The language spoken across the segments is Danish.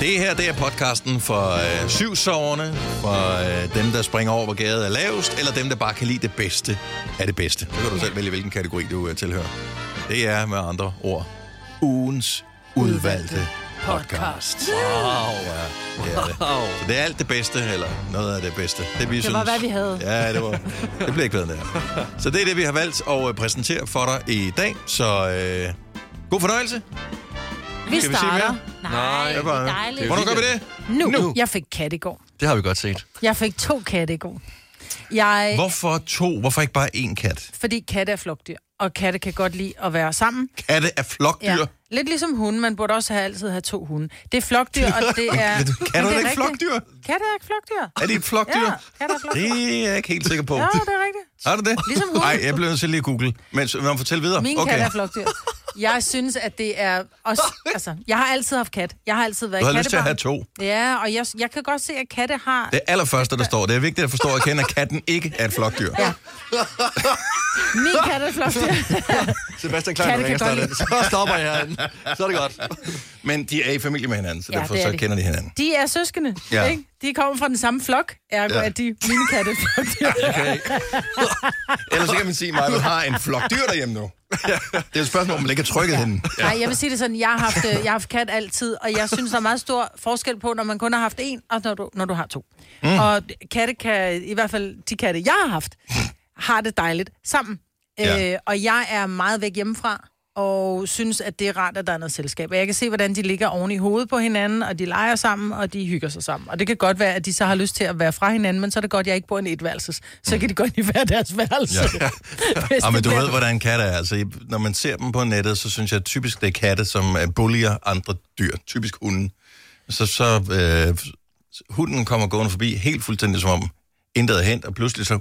Det her, det er podcasten for øh, syvsoverne, for øh, dem, der springer over, hvor gæret er lavest, eller dem, der bare kan lide det bedste af det bedste. Så kan du selv vælge, hvilken kategori du øh, tilhører. Det er med andre ord ugens udvalgte podcast. Wow, ja. Det er det. Så det er alt det bedste, eller noget af det bedste. Det, vi Det synes. var, hvad vi havde. Ja, det var. Det blev ikke bedre end det her. Så det er det, vi har valgt at øh, præsentere for dig i dag. Så øh, god fornøjelse. Vi Skal vi sige starter. mere? Nej, det er dejligt. Hvornår gør vi det? Nu. Nu. nu. Jeg fik kat i går. Det har vi godt set. Jeg fik to katte i går. Jeg, Hvorfor to? Hvorfor ikke bare én kat? fordi katte er flokdyr, og katte kan godt lide at være sammen. Katte er flokdyr. Ja. Lidt ligesom hunde, man burde også have, altid have to hunde. Det er flokdyr, og det er... Katte Men er det ikke rigtigt. flokdyr? Katte er ikke flokdyr. Er de et flokdyr? Ja, katte er flokdyr. Det er jeg ikke helt sikker på. Ja, det er rigtigt. Har du det? Ligesom hunde. Nej, jeg bliver nødt til lige at google. Men så, man fortælle videre. Min okay. kat er flokdyr. Jeg synes, at det er også... Altså, jeg har altid haft kat. Jeg har altid været Du havde lyst til at kattebarn. have to. Ja, og jeg, jeg kan godt se, at katte har... Det allerførste, der står, det er vigtigt at forstå og kende, at katten ikke er et flokdyr. Ja. Min kat er flokdyr. Sebastian Klein Katte ringer kan godt snart Så stopper jeg herinde. Så er det godt. Men de er i familie med hinanden, så Ja, derfor det er så de. kender de hinanden. De er søskende, Ja. ja. ikke? De kommer fra den samme flok, ergo Ja. ja. er de mine katte flokdyr. Okay. Ellers så kan man sige, at du har en flok dyr derhjemme nu. Det er et spørgsmål, om man ikke har trykket hende. Nej, jeg vil sige det sådan, jeg har haft, øh, jeg har haft kat altid, og jeg synes, der er meget stor forskel på, når man kun har haft en, og når du, når du har to. Mm. Og katte kan, i hvert fald de katte, jeg har haft, har det dejligt sammen. Ja. Ja. Øh, og jeg er meget væk hjemmefra, og synes, at det er rart, at der er noget selskab. Og jeg kan se, hvordan de ligger oven i hovedet på hinanden, og de leger sammen, og de hygger sig sammen. Og det kan godt være, at de så har lyst til at være fra hinanden, men så er det godt, at jeg ikke bor i en etværelses. Så kan de godt i hver deres værelse. Ja. Hvis Ja, men det du bliver- ved, hvordan katte er. Altså, I- når man ser dem på nettet, så synes jeg typisk, det er katte, som øh, bullier andre dyr. Typisk hunden. Så, så øh, hunden kommer gående forbi helt fuldstændig som om intet er hent, og pludselig så,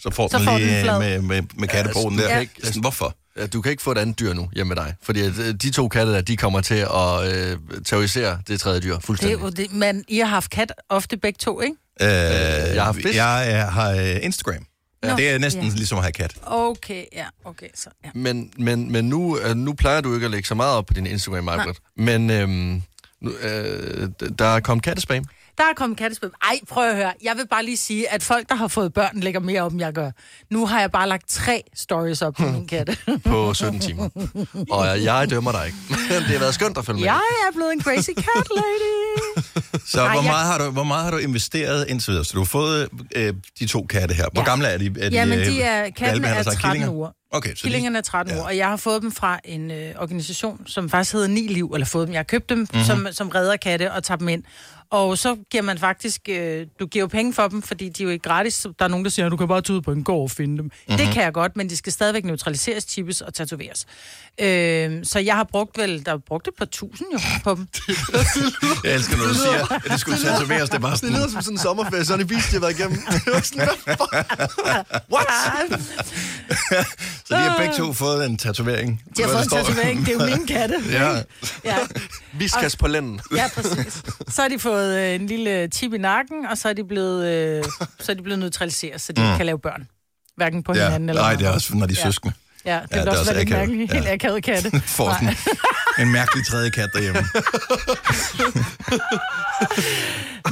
så får Så den får lige den øh, flad. med, med, med kattebogen Ja, der. altså, Ja. Sådan, hvorfor? Ja, Du kan ikke få et andet dyr nu hjemme med dig. Fordi at, øh, de to katte der, de kommer til at øh, terrorisere det tredje dyr Det er fuldstændig. jo det, men I har haft kat ofte begge to, ikke? Øh, jeg har fisk. jeg er, har øh, Instagram. Ja. Nå. Det er næsten Ja. ligesom at have kat. Okay, ja, okay, så ja. Men, men, men nu, øh, nu plejer du ikke at lægge så meget op på din instagram Majbrit. Men øhm, nu, øh, d- der er kommet kattespam. Der er kommet kattespil. Ej, prøv at høre. Jeg vil bare lige sige, at folk, der har fået børn, lægger mere op, end jeg gør. Nu har jeg bare lagt tre stories op på min katte. på 17 timer. Og jeg, jeg dømmer dig ikke. Men det har været skønt at følge med. jeg er blevet en crazy cat lady. Så Ej, hvor, jeg- meget har du, hvor meget har du investeret indtil videre? Så du har fået øh, de to katte her. Hvor Ja. gamle er de? Er de Jamen, øh, de er, katten hvalpe, han har er sagt, 13 killinger? uger. Okay, så de, Killingerne er 13 Ja. ja. år, og jeg har fået dem fra en øh, organisation, som faktisk hedder Ni Liv, eller fået dem, jeg har købt dem, Mhm. mm-hmm. som, som redder katte og tager dem ind. Og så giver man faktisk, øh, du giver jo penge for dem, fordi de er jo ikke gratis. Så Der er nogen, der siger, at du kan bare tage ud på en gård og finde dem. Mhm. Mm-hmm. Det kan jeg godt, men de skal stadigvæk neutraliseres, chippes og tatoveres. Øh, så jeg har brugt vel, der er brugt et par tusind jo på dem. Jeg elsker, når du siger, at det skulle tatoveres. Det er bare Det sådan, lyder som sådan en sommerferie, sådan en beach, de har været igennem. Det var sådan, hvad fuck? What? så de har begge to fået en tatovering. Ah. De har Hvad fået en der står? tatovering, det er jo mine katte. Ja. ja. Viskas på lænden. Ja, præcis. Så har de fået øh, en lille chip i nakken, og så er de blevet, øh, så er de blevet neutraliseret, så de ikke kan lave børn. Hverken på Mm. ja. hinanden eller Nej, det er noget. også, når de er Ja. søskende. Ja, det Ja, ja, det er vil også også være lidt akavet. mærkeligt. Ja. Helt akavet katte. Får sådan en mærkelig tredje kat derhjemme.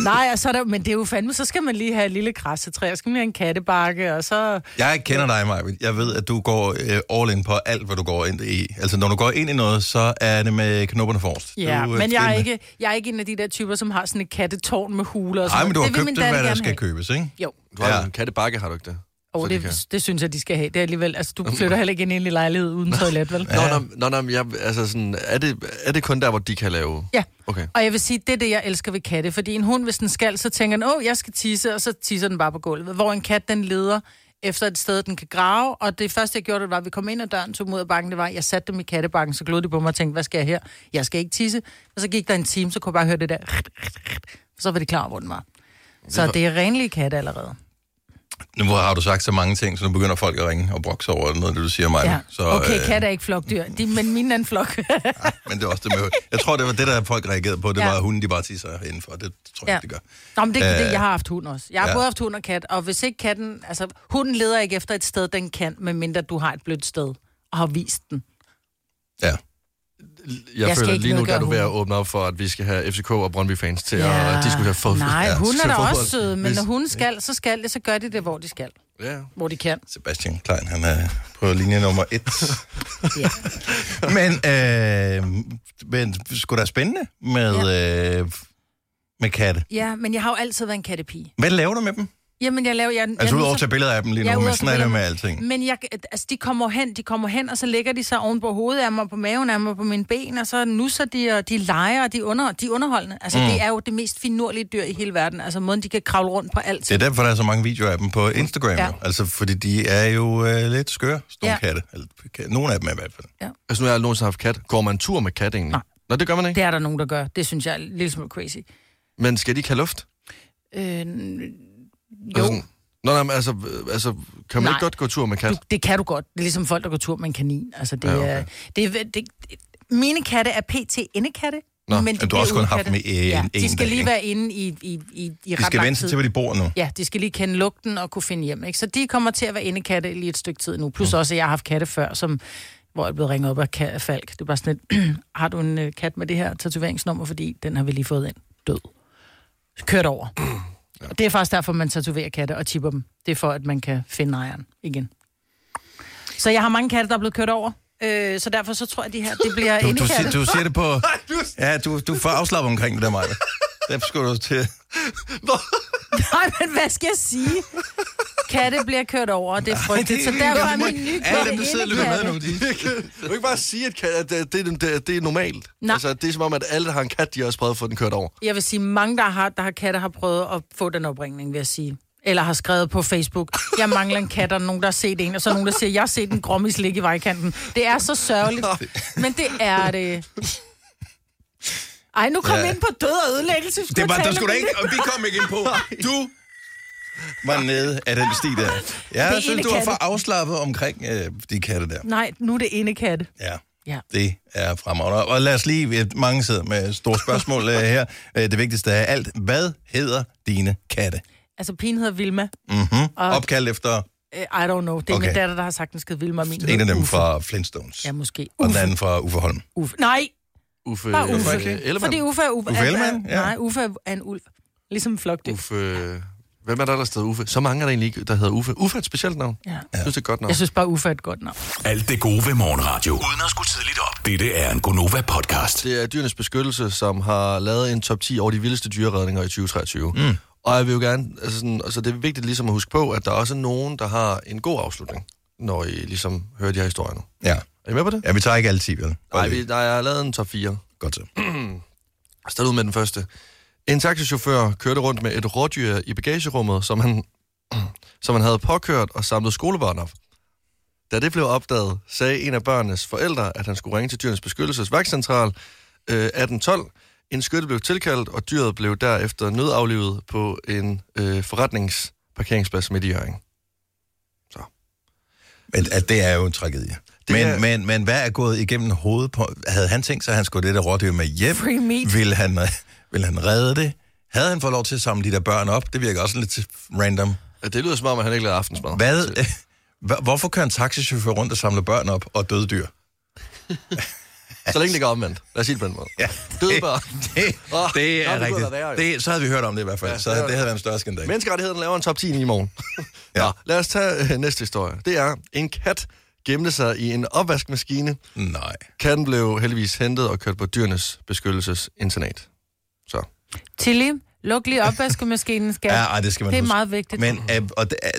Nej, og så er der, men det er jo fandme, så skal man lige have et lille krassetræ, og skal man lige have en kattebakke, og så... Jeg kender dig, Maja. Jeg ved, at du går øh, all in på alt, hvad du går ind i. Altså, når du går ind i noget, så er det med knopperne forrest. Ja, du, du, øh, men jeg det- er, ikke, jeg er ikke en af de der typer, som har sådan et kattetårn med huler og sådan Ej, men du har noget. købt vil min det, datter hvad der gerne skal have. købes, ikke? Jo, Du har Ja. ja. en kattebakke, har du ikke det? og Så de kan- det, det, synes jeg, de skal have. Det er alligevel, altså du flytter heller ikke ind i en lille lejlighed uden toilet, vel? Nå, nå, nå, nå, men jeg, altså sådan, er det, er det kun der, hvor de kan lave? Ja. Okay. Og jeg vil sige, det er det, jeg elsker ved katte. Fordi en hund, hvis den skal, så tænker den, åh, jeg skal tisse, og så tisser den bare på gulvet. Hvor en kat, den leder efter et sted, den kan grave. Og det første, jeg gjorde, det var, at vi kom ind ad døren, tog dem ud af bakken. Det var, jeg satte dem i kattebakken, så glod de på mig og tænkte, hvad skal jeg her? Jeg skal ikke tisse. Og så gik der en time, så kunne jeg bare høre det der. Så var de klar, over, hvor den var. Så det er renlige katte allerede. Nu har du sagt så mange ting, så nu begynder folk at ringe og brokse over noget, af det du siger, Maja. Ja. Så, Okay, øh, katte er ikke flokdyr, de, men mine er en flok. Men det er også det med... Jeg tror, det var det, der folk reagerede på. Det Ja. var, at hunden de bare tisser indenfor. Det tror jeg, Ja. ikke, de gør. Nå, men det, er Øh, det, jeg har haft hund også. Jeg har ja. ja. både haft hund og kat, og hvis ikke katten... Altså, hunden leder ikke efter et sted, den kan, medmindre du har et blødt sted og har vist den. Ja. jeg, jeg skal føler ikke lige nu, nedgøre der er du ved at hun. åbne op for, at vi skal have FCK og Brøndby-fans til Ja. at... De skulle have fået... Nej, hun skulle er da have også fodbold. sød, men Hvis- når hun skal, så skal det, så gør de det, hvor de skal. Ja. Hvor de kan. Sebastian Klein, han er på linje nummer et. Ja. men, øh, men sgu da spændende med, øh, med katte. ja, men jeg har jo altid været en kattepige. Hvad laver du med dem? Jamen, jeg laver... Jeg, Altså, jeg, udover at så- tage billeder af dem lige Jeg er nu, ude men og sådan tage er det med billeder. alting. Men jeg, altså, de kommer hen, de kommer hen, og så lægger de sig oven på hovedet af mig, og på maven af mig, og på mine ben, og så nusser de, og de leger, og de, under, de er underholdende. Altså, mm. det er jo det mest finurlige dyr i hele verden. Altså, måden, de kan kravle rundt på alt. Det er derfor, der er så mange videoer af dem på Instagram. Ja. Ja. Altså, fordi de er jo øh, lidt skøre, store Ja. ja. katte. Eller, ka- Nogle af dem er i hvert fald. Altså, nu har jeg aldrig nogensinde haft kat. Går man tur med kat egentlig? Nej. Nå, det gør man ikke. Det er der nogen, der gør. Det synes jeg er en lille smule crazy. Men skal de ikke have luft? Øh, Altså jo, sådan- Nå, nej, men altså, øh, altså, kan man Nej. ikke godt gå tur med kat? du, det kan du godt. Det er ligesom folk, der går tur med en kanin. Altså, det, Ja, ja, okay. okay. er, det, er- det, det, mine katte er pt. indekatte. Nå, men du har også kun haft dem i, øh, ja, en- De en skal dag, lige ikke? være inde i, i, i, i ret De skal lang vente sig tid. til, hvor de bor nu. Ja, de skal lige kende lugten og kunne finde hjem. Ikke? Så de kommer til at være indekatte lige et stykke tid nu. Plus også, at jeg har haft katte før, som, hvor jeg er blevet ringet op af ka- af Falk. Det var sådan et, har du en øh, kat med det her tatoveringsnummer, fordi den har vi lige fået ind. Død. Kørt over. Og Det er faktisk derfor, man tatoverer katte og chipper dem. Det er for, at man kan finde ejeren igen. Så jeg har mange katte, der er blevet kørt over. Øh, så derfor så tror jeg, at de her, det bliver Du, du, siger, indekatte. du siger det på... Ja, du, du får afslappet omkring det der, Maja. Der skal du til... Nej, men hvad skal jeg sige? Katte bliver kørt over, og det er frygteligt. Så det- derfor er det må- min nye katte Alle dem, der sidder og lytter med nu, de... Du kan ikke bare sige, at, kat, at det, det, det, det er normalt. Nej. Altså, det er som om, at alle, der har en kat, de har også prøvet at få den kørt over. Jeg vil sige, mange, der har, der har katte, har prøvet at få den opringning, vil jeg sige. Eller har skrevet på Facebook, jeg mangler en kat, og der er nogen, der har set en, og så er nogen, der siger, jeg har set en grommis ligge i vejkanten. Det er så sørgeligt, men det er det. Ej, nu kom ja. Ja. ind på død og ødelæggelse. Det var, jeg der tale skulle da om ikke, og vi kom ikke ind på. Du var nede af den sti der. Ja, ene jeg synes, du var katte. for afslappet omkring øh, de katte der. Nej, nu er det ene katte. Ja. Ja. Det er fremragende. Og lad os lige, øh, mange sidder med store spørgsmål øh, her. Øh, Det vigtigste af alt, hvad hedder dine katte? Altså, pigen hedder Vilma. Mm-hmm. Og- Opkaldt efter Øh, I don't know. Det er okay. min Okay. datter, der har sagt, den skid Vilma. og Min en hedder af dem Uffe. fra Flintstones. Ja, måske. Og den Uffe. anden fra Uffe Holm. Uffe. Nej, Uffe, Bare Uffe. Uffe Ellemann. fordi Uffe er Uffe. Uffe er- Ellemann, er- ja. Nej, Uffe er en ulv. Ligesom en flokdyr. Uffe... Hvem er der, der hedder Uffe? Så mange er der egentlig ikke, der hedder Uffe. Uffe er et specielt navn. Ja. Jeg synes, det er et godt navn. Jeg synes bare, Uffe er et godt navn. Alt det gode ved morgenradio. Uden at skulle tidligt op. Dette er en Gonova-podcast. Det er Dyrenes Beskyttelse, som har lavet en top 10 over de vildeste dyreredninger i 2023. Mm. Og jeg vil jo gerne, altså, sådan, altså det er vigtigt ligesom at huske på, at der også er nogen, der har en god afslutning, når I ligesom hører de her historier nu. Ja. Er I med på det? ja, vi tager ikke alle 10, vel? Nej, vi, nej, jeg har lavet en top 4. Godt så. Start ud med den første. En taxichauffør kørte rundt med et rådyr i bagagerummet, som han, som han havde påkørt og samlet skolebørn op. Da det blev opdaget, sagde en af børnenes forældre, at han skulle ringe til dyrenes beskyttelses vagtcentral øh, 1812. En skytte blev tilkaldt, og dyret blev derefter nødaflivet på en øh, forretningsparkeringsplads midt i Jørgen. Men at det er jo en tragedie. Det Det men, er- er... men, men hvad er gået igennem hovedet på... Havde han tænkt sig, at han skulle have det der rådyr med hjem? Free meat. Vil han, øh, vil han redde det? Havde han fået lov til at samle de der børn op? Det virker også lidt random. Øh, Det lyder som om, at han ikke lavede aftensmad. Hvad, øh, Hva- hvorfor kører en taxichauffør rundt og samler børn op og døde dyr? Så længe det går omvendt. Lad os sige det på den måde. Ja. Døde børn. Det, Åh, det nå, er det kunne da være værre, jo. rigtigt. Det, så havde vi hørt om det i hvert fald. Ja, Ja, så det det, var- havde været en større skandal. Men... Menneskerettigheden laver en top 10 i morgen. ja. Ja. Nå, lad os tage øh, næste historie. Det er, en kat gemte sig i en opvaskemaskine. Nej. Katten blev heldigvis hentet og kørt på dyrenes beskyttelsesinternat. Så. Tilly, luk lige opvaskemaskinen, skat. Ja, ej, det skal man Det er huske. meget vigtigt. Men øh, og det, er-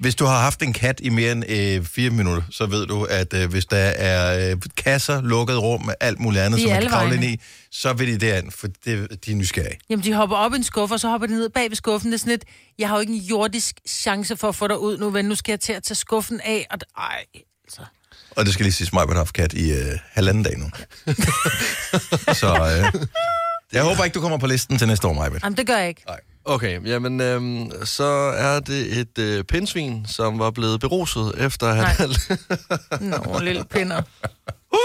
hvis du har haft en kat i mere end øh, fire minutter, så ved du, at øh, hvis der er øh, kasser, lukket rum, med alt muligt andet, De er som man kan alle kravle ind vegne. i, så vil de derind, for det, de er nysgerrige. Jamen, de hopper op i en skuffe, og så hopper de ned bag ved skuffen. Det er sådan lidt, jeg har jo ikke en jordisk chance for at få dig ud nu, men nu skal jeg til at tage skuffen af. Og d- ej, altså. Og det skal lige siges mig, at jeg har haft kat i øh, halvanden dag nu. så øh, jeg håber ikke, du kommer på listen til næste år, Majbet. Jamen, det gør jeg ikke. Okay, jamen, øhm, så er det et øh, pindsvin, som var blevet beruset efter... Nej. Han, Nå, lille pinder.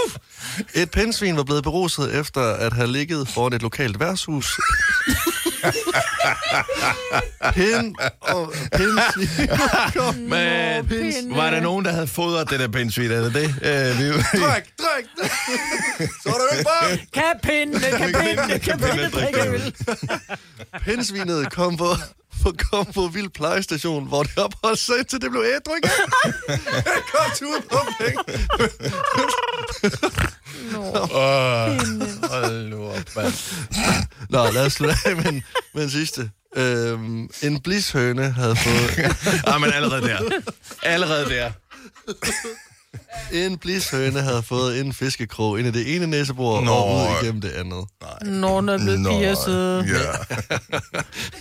et pindsvin var blevet beruset efter at have ligget foran et lokalt værtshus. Pind og pindsvin. Men Pinde. var der nogen, der havde fodret det der pindsvin? Er det det? Øh, vi, Drik, drik, drik. Så er det ikke bare. Kan pinde, kan pinde, kan pinde, drikke øl. Pindsvinet kom på, på, kom på vild plejestation, hvor det opholdt sig, indtil det blev ædru igen. Jeg kom tur på penge. Hold nu op, mand. Nå, lad os slutte af med en, med en sidste. Øhm, en blishøne havde fået... Ah, men allerede der. Allerede der. En blishøne havde fået en fiskekrog ind i det ene næsebord Nå. og ud igennem det andet. Nå, når det Nå, blev piger, så... ja.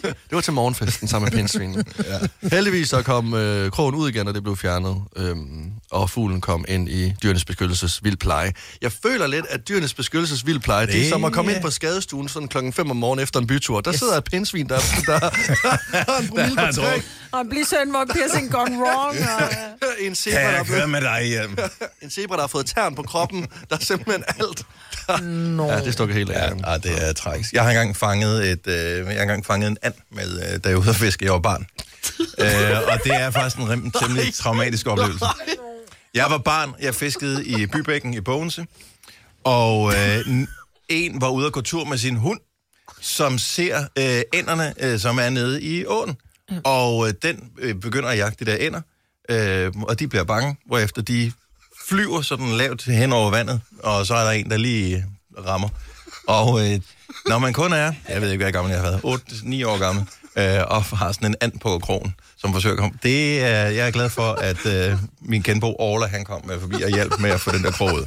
Det var til morgenfesten sammen med pindsvinet. ja. Heldigvis så kom øh, krogen ud igen, og det blev fjernet. Øhm, og fuglen kom ind i dyrenes beskyttelses vildpleje. Jeg føler lidt, at dyrenes beskyttelses vildpleje, det er Det- som at komme ja. ind på skadestuen sådan klokken 5 om morgenen efter en bytur. Der sidder et pindsvin, der, der, der, har en promille har på en tre. Og blive sådan, hvor piercing gone wrong. Og... En zebra, Kan der er jeg blevet køre med dig hjem? En zebra, der har fået tern på kroppen. Der er simpelthen alt. Der... No. Ja, det stukker helt af. Ja. Ja, ah, det er træks. Jeg har engang fanget, et, øh, jeg har engang fanget en and, med, øh, da jeg var ude at fiske, jeg var barn. øh, og det er faktisk en rim- temmelig traumatisk oplevelse. Jeg var barn, jeg fiskede i Bybækken i Bogense, og øh, n- en var ude at gå tur med sin hund, som ser øh, ænderne, øh, som er nede i åen. Og øh, den øh, begynder at jagte de der ænder, øh, og de bliver bange, hvorefter de flyver sådan lavt hen over vandet, og så er der en, der lige øh, rammer. Og øh, når man kun er, jeg ved ikke, hvor gammel jeg har været, 8-9 år gammel, øh, og har sådan en and på krogen, som forsøger at komme. Det er, jeg er glad for, at øh, min genbo Orla, han kom med forbi og hjalp med at få den der krog ud.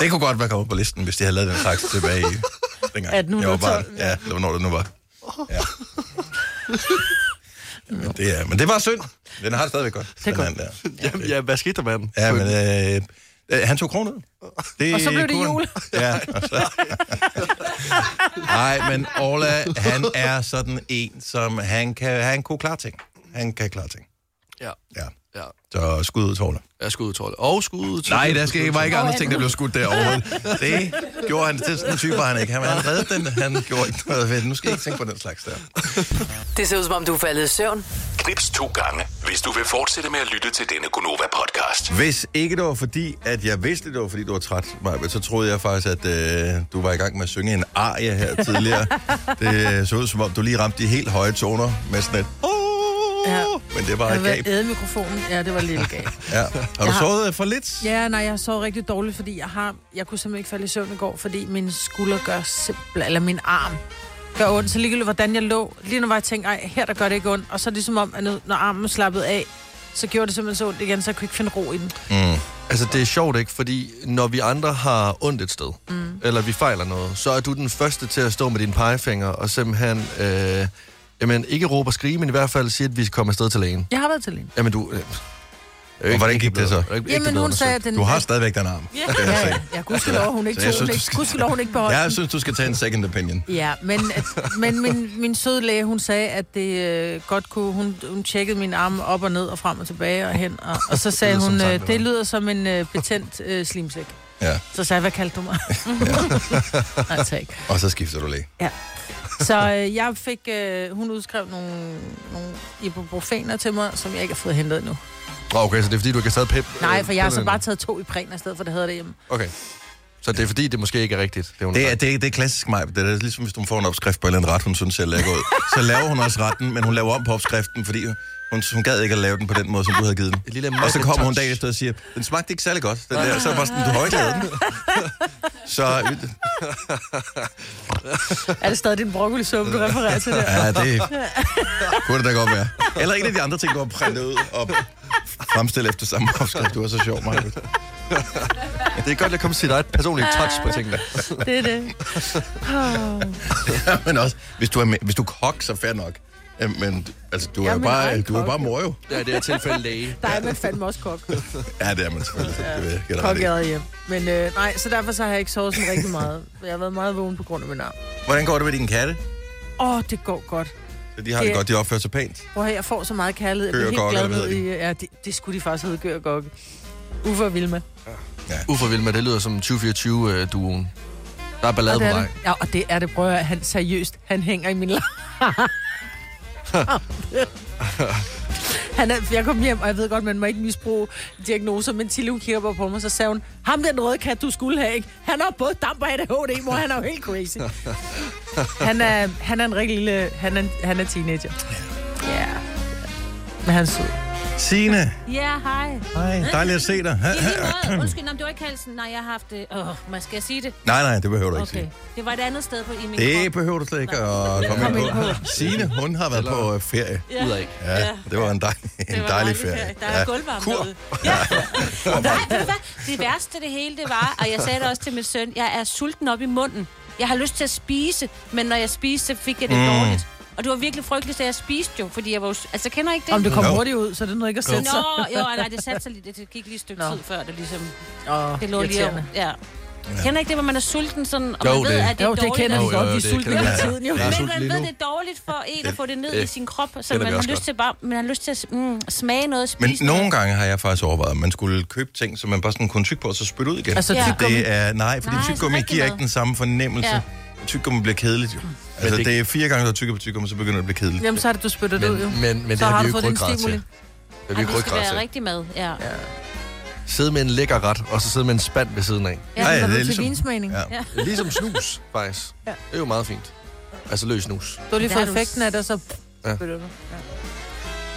Det kunne godt være kommet på listen, hvis de havde lavet den slags tilbage i dengang. 1812, jeg var barn. Ja, det var, når det nu var. Ja. Men det, er, men det var synd. Den har det stadigvæk godt. Det er godt. Jamen, ja, hvad skete der med den? Ja, men øh, øh, han tog kronen ud. Det Og så blev det kunne han. jul. Ja, og så... Nej, men Orla, han er sådan en, som han kan, han kunne klare ting. Han kan klare ting. ja. Ja. ja. Så skud ud til Orla. Jeg skulle ud, Torle. Og skulle ud til... Nej, der skal, var ikke Nå, andre han- ting, der blev skudt derovre. Det gjorde han til sådan en type, var han ikke. Han, han reddede den, han gjorde ikke noget ved det. Nu skal I ikke tænke på den slags der. Det ser ud som om, du er faldet i søvn. Knips to gange, hvis du vil fortsætte med at lytte til denne Gonova-podcast. Hvis ikke det var fordi, at jeg vidste, det var fordi, du var træt, Maja, så troede jeg faktisk, at øh, du var i gang med at synge en arie her tidligere. det øh, så ud som om, du lige ramte de helt høje toner med sådan et... Ja. Men det var Jeg et har været gab. æde mikrofonen. Ja, det var lidt gab. Ja. Har du har- sovet for lidt? Ja, nej, jeg sov rigtig dårligt, fordi jeg har... Jeg kunne simpelthen ikke falde i søvn i går, fordi min skulder gør simpelthen... Eller min arm gør ondt. Så ligegyldigt, hvordan jeg lå. Lige nu var jeg tænkt, ej, her der gør det ikke ondt. Og så er det som om, at nu- når armen slappede af, så gjorde det simpelthen så ondt igen, så jeg kunne ikke finde ro i den. Altså, det er sjovt, ikke? Fordi når vi andre har ondt et sted, mm. eller vi fejler noget, så er du den første til at stå med dine pegefinger og simpelthen... Øh, jamen, ikke råbe og skrige, men i hvert fald sige, at vi skal komme afsted til lægen. Jeg har været til lægen. Jamen, du... Øh, Og hvordan gik det så? Jamen, hun sagde, at den... Du har stadigvæk den arm. Ja, ja, ja. Jeg gudskelov, hun ikke Så jeg tog den synes, du ikke. skal- Gudskelov, hun ikke beholdt den. Jeg synes, du skal tage en second opinion. Ja, men, at, men min, min søde læge, hun sagde, at det øh, godt kunne... Hun, hun tjekkede min arme op og ned og frem og tilbage og hen. Og, og så sagde lyder som hun, tanker, øh, det lyder som en øh, betændt øh, slimsæk. Ja. Så sagde jeg, hvad kaldte du mig? Nej, tak. Og så skifter du læge. Ja. Så øh, jeg fik... Øh, hun udskrev nogle, nogle ibuprofener til mig, som jeg ikke har fået hentet endnu. Okay, så det er fordi, du ikke har taget pep? Nej, øh, for jeg har så pillerne. bare taget to i præn, i stedet for det hedder det hjemme. Okay. Så det er fordi, det måske ikke er rigtigt, det hun Det er, det, er, det er klassisk mig. Det er ligesom, hvis hun får en opskrift på en eller anden ret, hun synes selv er god. Så laver hun også retten, men hun laver om på opskriften, fordi hun, hun gad ikke at lave den på den måde, som du havde givet den. Et lille Og så kommer hun Macintosh. dagen efter og siger, den smagte ikke særlig godt. Den der. Så var jeg sådan, du har jo ikke lavet den. Så Er det stadig din broccolisuppe, du refererer til der? ja, det kunne det da godt være. Eller en af de andre ting, du har printet ud og fremstillet efter samme opskrift. Du er så sjov, Maja. Det er godt, at der kommer sit eget personlige touch på tingene. Det er det. Men også, hvis du er, med, hvis du er kok, så fair nok. Øh, Men altså, du er, men bare, ej, du er kok. bare mor jo. Ja, det er tilfælde læge. Der er man fandme også kok. Ja, det er man selvfølgelig. Det ved jeg, jeg Kok i eget hjem. Men øh, nej, så derfor så har jeg ikke sovet sådan rigtig meget. Jeg har været meget vågen på grund af min arm. Hvordan går det med dine katte? Åh, oh, det går godt. Så de har det, Det- godt, de opfører sig pænt. Prøv at høre, jeg får så meget kærlighed. Jeg Gør og bliver helt Gokke, glad hvad ned i... hedder Ja, det, det skulle de faktisk hedde, Gør og Gokke. Uffe og Vilma. Uh, Ufor Vilma, det lyder som 2024-duoen. øh, Der er ballade Og på det er vej. det. Ja, og det er det, prøv at høre. han seriøst, han hænger i min lang. han er, jeg kom hjem, og jeg ved godt, man må ikke misbruge diagnoser, men Tilly, hun kigger bare på mig, så sagde hun, ham den røde kat, du skulle have, ikke? Han har både damp og ADHD, mor, han er jo helt crazy. han, er, han er en rigtig lille, han er, en- han er teenager. Ja. Yeah. Men han er sød. Signe, Ja, hej. hej, dejligt at se dig. I lige måde. Undskyld, om det var ikke halsen. Nej, jeg har haft... øh, Åh, øh, man skal jeg sige det? Nej, nej, det behøver du ikke Okay. sige. Det var et andet sted på i min Det krop. behøver du slet ikke at komme ind på. Signe, hun har været på øh, ferie. Ja. Ud af. Ja, det var en, dej, en dejlig var dejlig ferie. ferie. Der er Ja. gulvvarme Kur. derude. Nej, ved du hvad? Det værste af det hele, det var, og jeg sagde det også til min søn, jeg er sulten op i munden. Jeg har lyst til at spise, men når jeg spiste, så fik jeg det mm. dårligt. Og det var virkelig frygteligt, så jeg spiste jo, fordi jeg var... jo s- Altså, kender I ikke det? Om det kommer Jo. hurtigt ud, så er det noget ikke at sætte sig. Nå, jo, nej, det satte sig lidt. Det gik lige et stykke Nå. tid før, det ligesom... Åh, Det lå lige om. irriterende. Ja. Kender I ikke det, hvor man er sulten sådan, og Jo, man ved, det- at det er Jo, det dårligt? kender vi Jo, jo, godt. Vi er det sultne kender hele vi. tiden, jo. Ja. Jeg er Men sulten man lige ved, nu. det er dårligt for en at få det ned det i sin krop, så kender vi man har også lyst godt. til bare, man har lyst til at mm, smage noget, spise Men noget. nogle gange har jeg faktisk overvejet, at man skulle købe ting, som man bare sådan kunne tykke på, og så spytte ud igen. Altså, Ja. tyggegummi. Det er, nej, fordi Nej, tyggegummi så rigtig giver noget. ikke den samme fornemmelse. Ja. Ja. Tyggegummi bliver kedeligt jo. Altså, det, det- det er fire gange, du tykker på tyggegummi, så begynder det at blive kedeligt. Jamen, så er det, du spytter det ud, jo. Men, men, men Så det har har vi du jo fået ikke din ryggrad til. stimuli. Det har vi jo Ej, ikke det skal ryggrad være til. rigtig mad, ja. ja. Sidde med en lækker ret, og så sidde med en spand ved siden af. Ja, så er du til vinsmagning. Ja. Ja. Ligesom snus, faktisk. Ja. Det er jo meget fint. Altså løs snus. Du har lige Der fået er du effekten af det, og så... Ja. Ja. Du.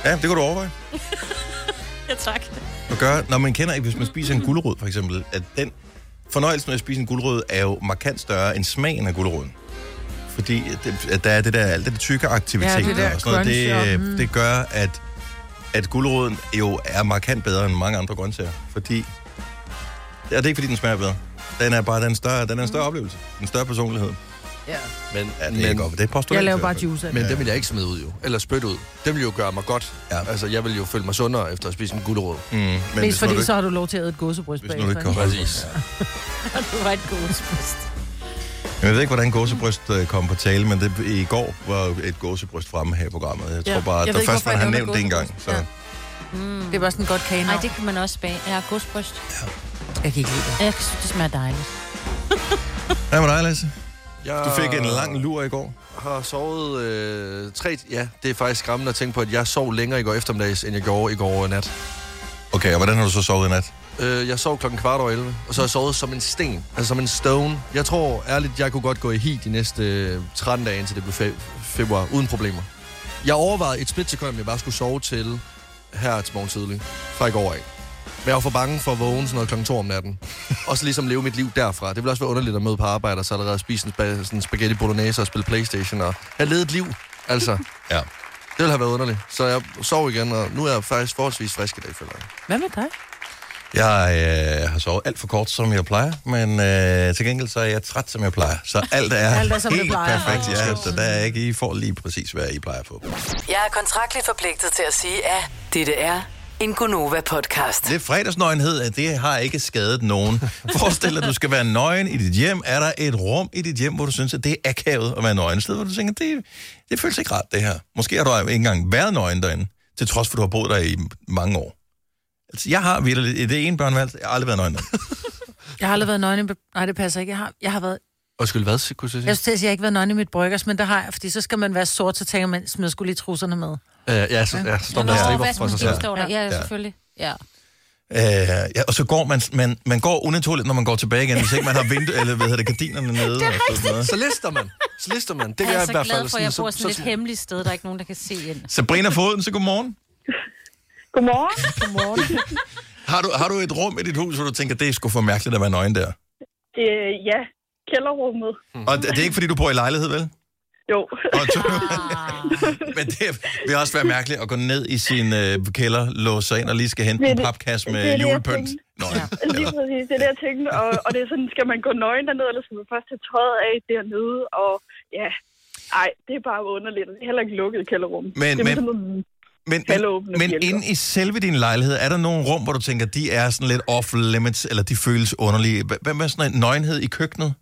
ja, det kan du overveje. ja tak. at gøre, når man kender, hvis man spiser en gulerod for eksempel, at den fornøjelsen af at spise en gulerod er jo markant større end smagen af guleroden. Fordi at det, at der er det der, alt det der tykke aktivitet Ja, det der Mm. og sådan noget, det, crunch og, øh, det gør, at, at guleroden jo er markant bedre end mange andre grøntsager. Fordi, og det er ikke fordi, den smager bedre. Den er bare den er en større, den er en Mm. større oplevelse. En større personlighed. Ja. Men, Ja, det er men, godt. Det påstår Jeg ikke, laver i bare hvert fald. juice af det. men det vil jeg ikke smide ud jo. Eller spytte ud. Det vil jo gøre mig godt. Ja. Ja. Altså, jeg vil jo føle mig sundere efter at spise en gulerod. Mm, men Mest hvis nu fordi, du, så har du lov til at æde et gåsebryst hvis nu du ikke kan ikke? holde Præcis. Det var et godt spørgsmål. Jeg ved ikke, hvordan gåsebryst øh, kom på tale, men det, i går var et gåsebryst fremme her i programmet. Jeg tror Ja. bare, Jeg at ved der ikke, først hvorfor man jeg har nævner nævnt det engang. Så. gåsebryst. Det er bare sådan en godt kage. Nej, det kan man også bage. Ja, godsbryst. Jeg kan ikke lide det. Jeg synes, det smager dejligt. Hvad med dig, Lasse? Jeg Du fik en lang lur i går. har sovet øh, tre... Ja, det er faktisk skræmmende at tænke på, at jeg sov længere i går eftermiddags, end jeg gjorde i går nat. Okay, og hvordan har du så sovet i nat? Øh, jeg sov klokken kvart over 11, og så har jeg sovet som en sten, altså som en stone. Jeg tror ærligt, jeg kunne godt gå i hi de næste øh, 13 dage, indtil det blev fe- februar, uden problemer. Jeg overvejede et splitsekund, om jeg bare skulle sove til her til morgen tidlig, fra i går af. Men jeg var for bange for at vågne sådan noget klokken 2 om natten. Og så ligesom leve mit liv derfra. Det ville også være underligt at møde på arbejde, og så allerede spise en, spa- sådan en spaghetti bolognese og spille Playstation. Og have levet et liv, altså. Det Ja. ville have været underligt. Så jeg sov igen, og nu er jeg faktisk forholdsvis frisk i dag, føler jeg. Hvad med dig? Jeg øh, har sovet alt for kort, som jeg plejer, men øh, til gengæld så er jeg træt, som jeg plejer. Så alt er, Alt er, som det helt plejer. perfekt. Ja, så der er ikke, I får lige præcis, hvad I plejer at få. Jeg er kontraktligt forpligtet til at sige, at dette er en Gunova-podcast. Det er fredagsnøgenhed, at det har ikke skadet nogen. Forestil dig, at du skal være nøgen i dit hjem. Er der et rum i dit hjem, hvor du synes, at det er akavet at være nøgen? Et sted, hvor du tænker, det, det føles ikke rart, det her. Måske har du ikke engang været nøgen derinde, til trods for, at du har boet der i mange år. Altså, jeg har virkelig, i det ene børneværelse, jeg har aldrig været nøgen derinde. Jeg har aldrig været nøgen i... Nej, det passer ikke. Jeg har, jeg har været... Undskyld, hvad kunne du sige? Jeg skulle til at sige, at jeg ikke har været nøgen i mit bryggers, men det har jeg, fordi så skal man være sort, så tænker man, smider skulle lige trusserne med. Øh, ja, så, ja, så står Nå, man og striber hvad for sig smager selv. det, står der? Ja, Ja. selvfølgelig. Ja. Øh, ja, og så går man, man, man går unaturligt, når man går tilbage igen, hvis ikke man har vindu, eller hvad hedder det, gardinerne nede. Det er rigtigt. Så lister man. Så lister man. Det gør Jeg jeg er i så hvert fald. glad for, at jeg bor så- sådan et så- hemmeligt sted, der er ikke nogen, der kan se ind. Sabrina Foden, så godmorgen. Godmorgen. Har du, har du et rum i dit hus, hvor du tænker, det er sgu for mærkeligt at være nøgen der? Øh, ja, kælderrummet. Og det, det er ikke, fordi du bor i lejlighed, vel? Jo. Og to, men det vil også være mærkeligt at gå ned i sin øh, kælder, låse sig ind og lige skal hente Det er en det- papkasse det er med det, jeg julepynt. tænkte. Nå, Lige ja. præcis, det er det, jeg tænkte. Og, og det er sådan, skal man gå nøgen derned, eller skal man først tage tøjet af dernede? Og ja, nej, det er bare underligt. og Det er heller ikke lukket kælderrum. Men- det er men- sådan noget- Men, Halvåbne men, men bjælker. inde i selve din lejlighed, er der nogle rum, hvor du tænker, de er sådan lidt off-limits, eller de føles underlige? Hvad- Hvad med sådan en nøgenhed i køkkenet?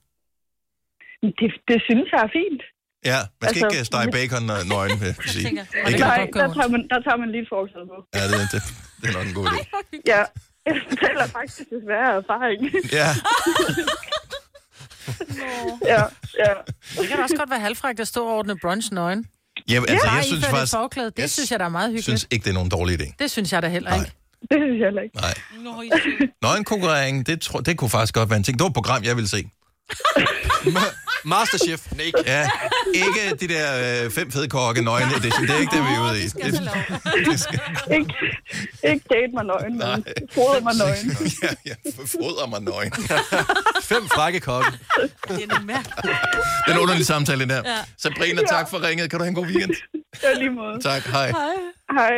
det, det synes jeg er fint. Ja, man skal Altså- ikke øh, stege bacon og nøgen, vil jeg sige. tænker jeg. Ikke, kan Nej, godt gøre der ondt. tager man, der tager man lige et forsøg på. ja, det, det, det er nok en god idé. Ja, jeg fortæller faktisk desværre af erfaring. Ja. ja, ja. Det kan da også godt være halvfrækt at stå og ordne brunch nøgen. Ja, altså, Bare jeg synes iføre det faktisk... forklæde. Det jeg synes jeg, der er meget Jeg hyggeligt. synes ikke, det er nogen dårlig idé. Det synes jeg da heller Nej. ikke. Det synes jeg heller ikke. Nej. Nå, I- Nøgenkonkurrering, det, tror, det kunne faktisk godt være en ting. Det var et program, jeg ville se. Masterchef, Nick. Ja, ikke de der øh, fem fede kokke nøgen edition. Det er ikke det, vi er ude i. skal jeg så love. det skal, Ikke, ikke date mig nøgen, men Nej. fodre mig nøgen. ja, ja, fodrer mig nøgen. Fem frække kokke. Det er en mærkelig. Det er en underlig samtale, den der. Sabrina, tak for ringet. Kan du have en god weekend? Ja, lige måde. Tak, hej. Hej.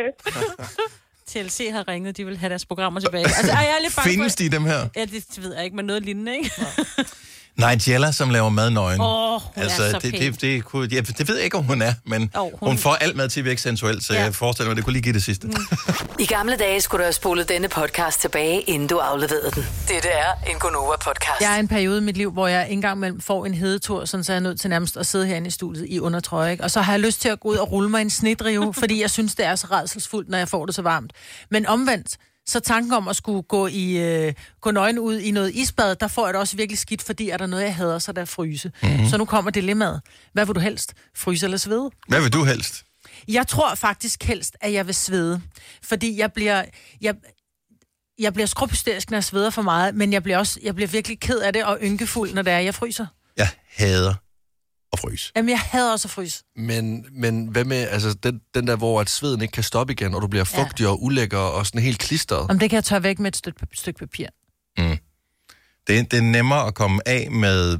TLC har ringet, de vil have deres programmer tilbage. Altså, ej, jeg er lidt bange Findes for... de dem her? Ja, det ved jeg ikke, men noget lignende, ikke? Nigella, som laver mad nøgen. Åh, hun altså, er så det, pæn. det, det, kunne, ja, det ved jeg ikke, om hun er, men Jo, oh, hun- hun... hun får alt mad til at virke sensuelt, så Ja. Mm. ja. jeg forestiller mig, det kunne lige give det sidste. I gamle dage skulle du have spolet denne podcast tilbage, inden du afleverede den. Dette er en Gonova-podcast. Jeg er i en periode i mit liv, hvor jeg engang mellem får en hedetur, sådan så jeg er nødt til nærmest at sidde herinde i studiet i undertrøje. Ikke? Og så har jeg lyst til at gå ud og rulle mig i en snedrive, fordi jeg synes, det er så redselsfuldt, når jeg får det så varmt. Men omvendt, så tanken om at skulle gå, i, øh, gå nøgen ud i noget isbad, der får jeg det også virkelig skidt, fordi er der noget, jeg hader, så er der fryse. Mm-hmm. Så nu kommer dilemmaet. Hvad vil du helst? Fryse eller svede? Hvad vil du helst? Jeg tror faktisk helst, at jeg vil svede. Fordi jeg bliver... Jeg, jeg bliver skrubhysterisk, når jeg sveder for meget, men jeg bliver, også, jeg bliver virkelig ked af det og ynkefuld, når det er, jeg fryser. Jeg hader at fryse. Jamen, jeg hader også at fryse. Men, men hvad med altså, den, den der, hvor at sveden ikke kan stoppe igen, og du bliver Ja. fugtig og ulækker og sådan helt klistret? Om det kan jeg tørre væk med et stykke, stykke papir. Det, det er nemmere at komme af med...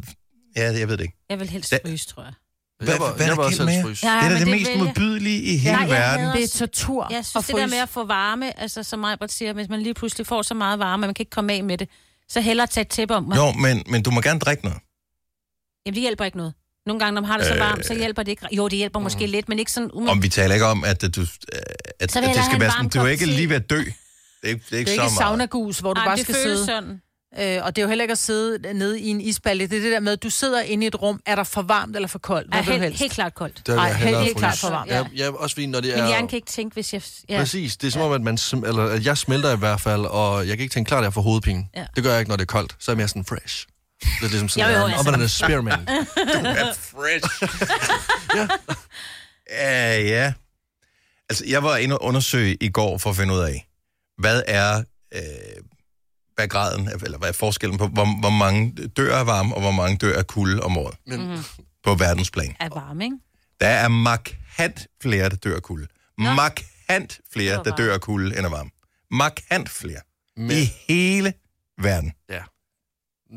Ja, jeg ved det ikke. Jeg vil helst Hvad- fryse, tror jeg. Hvad- jeg var, hvad er jeg var der også kendt helst med? fryse. Ja. Ja, det er da men det, det mest vælger- modbydelige i hele Nej, jeg verden. hader- Det er tortur Jeg at synes, det der med at få varme, altså som Majbert siger, hvis man lige pludselig får så meget varme, at man kan ikke komme af med det, så hellere tage et tæppe om mig. Jo, men, men du må gerne drikke noget. Mm. Jamen, det hjælper ikke noget. Nogle gange, når man har det så Øh. varmt, så hjælper det ikke. Jo, det hjælper måske lidt, men ikke sådan... Um... Om vi taler ikke om, at øh, du, øh, at, Så vil jeg at da det have en skal være varm sådan, du kop er ikke te. lige ved at dø. Det er ikke, det er ikke, Det er så ikke meget. saunagus, hvor du Ej, bare det skal føles sidde. sådan. Øh, og det er jo heller ikke at sidde nede i en isbalje. Det er det der med, at du sidder inde i et rum. Er der for varmt eller for koldt? Ej, Hvad vil du helt, helst? helt klart koldt. Der vil Ej, jeg helt- hellere helt klart for varmt. Ja, ja, også fordi, når det Min er... hjerne kan ikke tænke, hvis jeg... Ja. Præcis. Det er som om, at, man, sm- eller, at jeg smelter i hvert fald, og jeg kan ikke tænke klart, at jeg får hovedpine. Ja. Det gør jeg ikke, når det er koldt. Så er jeg mere sådan fresh. Det er ligesom sådan, Jo, jo, jo, jo, altså. altså. en spearmint. er fresh. ja. Uh, ja. Altså, jeg var inde og undersøge i går for at finde ud af, hvad er, øh, hvad er graden, eller hvad er forskellen på, hvor, hvor mange dør af varme, og hvor mange dør af kulde om året Men Mhm. mm. på verdensplan. Er varme, ikke? Der er markant flere, der dør af kulde. Markant flere, var der dør af kulde, end af varme. Markant flere. I hele verden. Ja.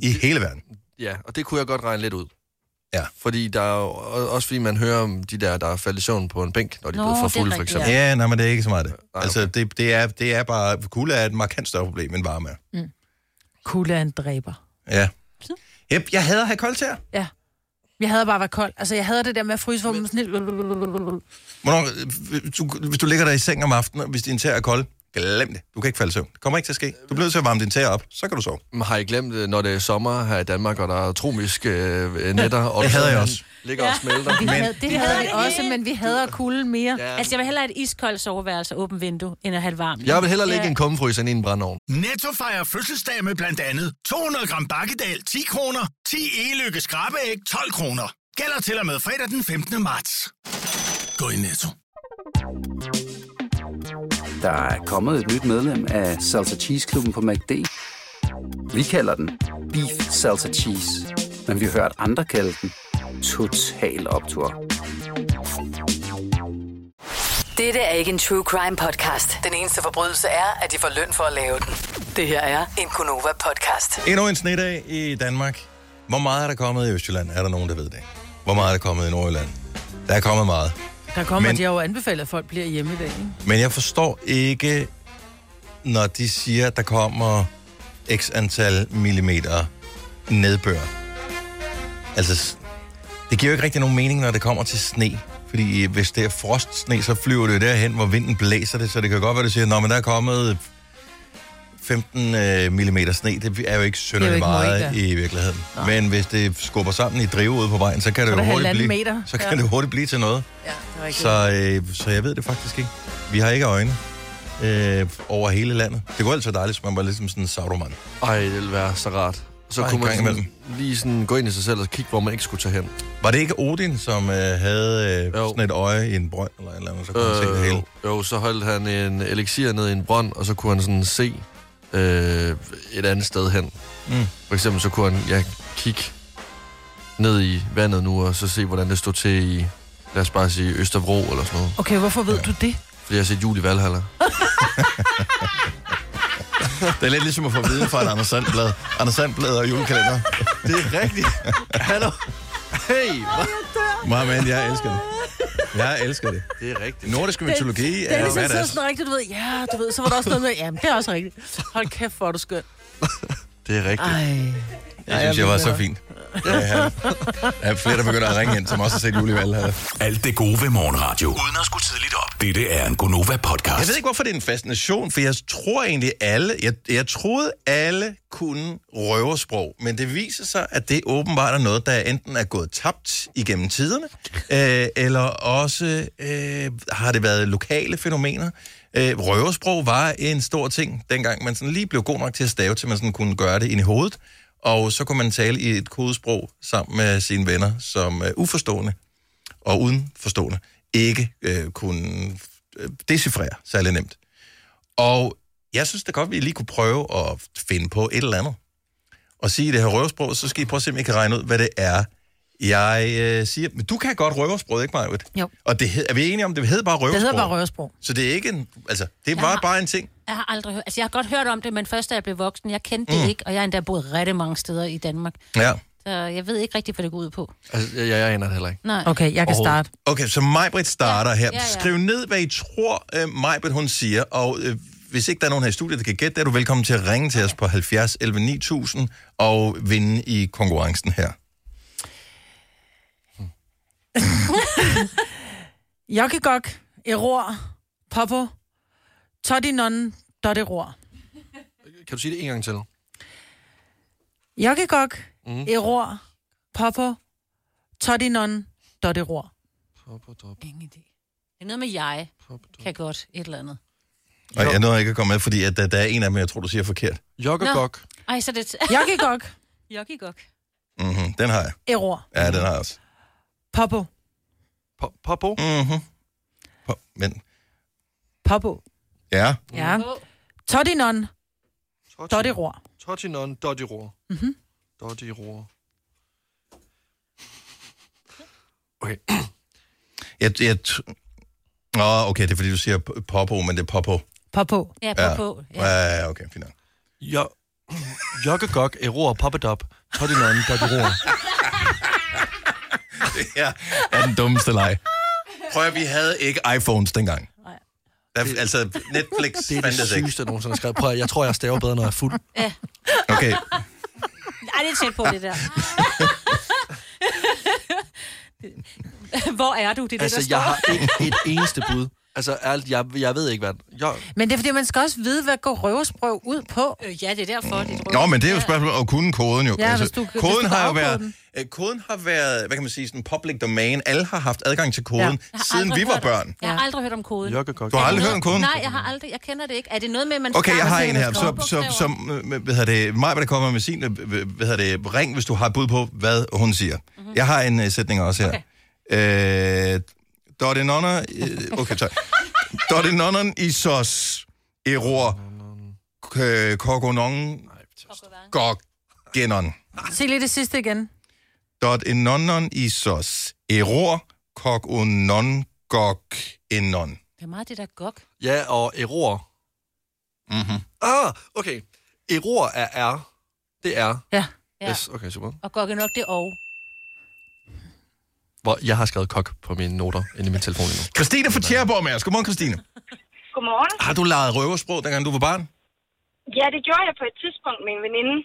I hele verden. Ja, og det kunne jeg godt regne lidt ud. Ja. Fordi der er jo, og- også fordi man hører om de der, der er faldet i søvn på en bænk, når de er Nå, blevet for det er fulde, for rigtigt, eksempel. Ja, ja nej, men det er ikke så meget det. okay. Altså, det, det, er, det er bare... Kulde er et markant større problem, end varme er. Mm. Kulde er en dræber. Ja. Yep, jeg hader at have koldt her. Ja. Jeg havde bare været kold. Altså, jeg havde det der med at fryse, hvor man sådan lidt... Hvornår, øh, du, hvis du ligger der i seng om aftenen, og hvis din tæer er kold, glem det. Du kan ikke falde i søvn. Det kommer ikke til at ske. Du bliver nødt til at varme din tæer op, så kan du sove. Men Har I glemt, øh, når det er sommer her i Danmark, og der er tromiske øh, netter? Og Det du hader jeg sådan også. Ligger og smelter. Vi havde, det havde vi det også, men vi hader kulde mere. Ja. Altså, jeg vil hellere have et iskoldt soveværelse og åbent vindue, end at have det varmt. Jeg vil hellere ligge i en kummefryser end i en brændeovn. Netto fejrer fødselsdag med blandt andet 200 gram bakkedal 10 kroner, 10 e-lykke skrabeæg 12 kroner. Gælder til og med fredag den 15. marts. Gå i Netto. Der er kommet et nyt medlem af Salsa Cheese Klubben på MACD. Vi kalder den Beef Salsa Cheese, men vi har hørt andre kalde den Total Optor. Dette er ikke en true crime podcast. Den eneste forbrydelse er, at de får løn for at lave den. Det her er en Gonova-podcast. Endnu en snedag i Danmark. Hvor meget er der kommet i Østjylland? Er der nogen, der ved det? Hvor meget er der kommet i Nordjylland? Der er kommet meget. Der kommer, men... Men- de har jo anbefalet, at folk bliver hjemme i dag. Ikke? Men jeg forstår ikke, når de siger, at der kommer x antal millimeter nedbør. Altså, s- det giver jo ikke rigtig nogen mening, når det kommer til sne. Fordi hvis det er frostsne, så flyver det jo derhen, hvor vinden blæser det. Så det kan godt være, at du siger, at der er kommet 15 øh, mm sne. Det er jo ikke synderligt ikke meget meget, i virkeligheden. Nej. Men hvis det skubber sammen i drive ude på vejen, så kan det, er jo det hurtigt halvanden blive, meter. så kan Ja. det hurtigt blive til noget. Ja, det er Så, øh, så jeg ved det faktisk ikke. Vi har ikke øjne øh, over hele landet. Det går altid dejligt, hvis man var ligesom sådan en sauroman. Ej, det ville være så rart. Så Bare kunne en man gang sådan, lige sådan gå ind i sig selv og kigge, hvor man ikke skulle tage hen. Var det ikke Odin, som øh, havde øh, Jo. sådan et øje i en brønd eller et eller andet, så kunne øh, se det Øh, hele? jo, jo, så holdt han en elixir ned i en brønd, og så kunne han sådan se øh, et andet sted hen. Mm. For eksempel så kunne han ja, kigge ned i vandet nu, og så se, hvordan det stod til i, lad os bare sige, Østerbro eller sådan noget. Okay, hvorfor ved du det? Fordi jeg har set jul i Valhalla. Det er lidt ligesom at få viden fra et Anders Sandblad. Anders Sandblad og julekalender. Det er rigtigt. Hallo. Hey, hvad? Meget jeg elsker det. Jeg elsker det. Det er rigtigt. Nordisk mytologi Det er er ligesom hvad det sådan er. sådan rigtigt, du ved, ja, du ved, så var der også noget med, jamen, det er også rigtigt. Hold kæft, hvor er du skøn. Det er rigtigt. Ej. Jeg synes, jeg var så fint. Ja, ja. flere, der begynder at ringe ind, som også har set Julie Valhalla. Alt det gode ved morgenradio. Uden at skulle tidligt op. Dette er en Gonova-podcast. Jeg ved ikke, hvorfor det er en fascination, for jeg tror egentlig alle, jeg, jeg troede alle kunne røversprog, men det viser sig, at det åbenbart er noget, der enten er gået tabt igennem tiderne, øh, eller også øh, har det været lokale fænomener. Øh, røversprog var en stor ting, dengang man sådan lige blev god nok til at stave, til man sådan kunne gøre det ind i hovedet, og så kunne man tale i et kodesprog sammen med sine venner, som øh, uforstående og uden forstående ikke øh, kunne øh, decifrere særlig nemt. Og jeg synes da godt, vi lige kunne prøve at finde på et eller andet. Og sige i det her røversprog, så skal I prøve at se, om I kan regne ud, hvad det er, jeg øh, siger. Men du kan godt røversproget, ikke Majwit? Jo. Og det hed, er vi enige om, det hedder bare røversprog? Det hedder bare røversprog. Så det er ikke en... Altså, det var Ja. bare en ting. Jeg har aldrig hørt... Altså, jeg har godt hørt om det, men først da jeg blev voksen, jeg kendte det ikke, og jeg har endda boet rigtig mange steder i Danmark. Ja. Så jeg ved ikke rigtig, hvad det går ud på. Altså, jeg, jeg aner det heller ikke. Nej. Okay, jeg kan starte. Okay, så Majbrit starter Ja, her. ja, ja. Skriv ned, hvad I tror, øh, Majbrit hun siger, og øh, hvis ikke der er nogen her i studiet, der kan gætte det, er du velkommen til at ringe til os på 70 11 9000 og vinde i konkurrencen her. Jokkegok, eror, popo, todinonnen, dotteror. Kan du sige det en gang til? Jokkegok, Mhm. eror, popo, todinonnen, dotteror. Ingen idé. Det er noget med jeg. Kan godt. Et eller andet. Og jeg nåede ikke at komme med, fordi at øh, der, der er en af dem, jeg tror, du siger forkert. Jokkogok. Ej, så er det... Jokkegok, Jokke gok. Mm-hmm. Den har jeg. eror, Ja, den har jeg også. popo, Po- Popo. Mm-hmm. Men, popo. ja. Ja. Todinon, dotteror. Totinon Dodgeror. Mhm. Dodgeror. Okay. Jeg, jeg t- Nå, okay, det er fordi, du siger p- popo, men det er popo. Popo. Ja, på på. Ja, Ja. ja, ja, okay, fint. nok. Jo... Jokkegok, Eror, Poppedop, Totinon, Dodgeror. Det her er den dummeste leg. Prøv at vi havde ikke iPhones dengang. Der, altså, Netflix Det er det fandtes ikke. sygeste, jeg nogensinde har skrevet. Prøv at, jeg tror, jeg staver bedre, når jeg er fuld. Okay, Ej, det er tæt på, det der. Hvor er du? Det er Altså, det, der jeg står. har ikke et eneste bud. Altså, ærligt, jeg, jeg ved ikke, hvad... Jeg, Men det er fordi, man skal også vide, hvad går røversprog ud på. Øh, ja, det er derfor, det er et Nå, rødt. men det er jo et spørgsmål om at kunne koden jo. Altså, Ja, hvis du- hvis koden du har jo afkoder været, den. øh, koden har været, hvad kan man sige, sådan public domain. Alle har haft adgang til koden, Jeg ja. har siden aldrig vi var hørt om- børn. Jeg har aldrig hørt om koden. Jokkegok. Du har aldrig hørt om koden? Nej, jeg har aldrig. Jeg kender det ikke. Er det noget med, at man Okay, jeg starter har med en at her. skrive Så, så, bogstaver? som, øh, hvad hedder det, mig, hvad der kommer med sin, øh, hvad hedder det, ring, hvis du har et bud på, hvad hun siger. Mm-hmm. Jeg har en uh, sætning også her. Okay. Øh, Dotte Nonner, øh, okay, tak. Dotte Nonner i sos, eror, k- kogonon, gogenon. Se lige det sidste igen. Dot en nonon i sos, eror, kogonon, gog enon. Det er meget det der gok. Ja, og Eror. Mhm. Ah, okay. Eror er R. Det er R. Ja. Ja. Yes, okay, super. Og gok er nok det og. Hvor jeg har skrevet kok på mine noter inde i min telefon endnu. Christine fra Tjæreborg med os. Godmorgen, Christine. Godmorgen. Har du leget røversprog, dengang du var barn? Ja, det gjorde jeg på et tidspunkt med en veninde.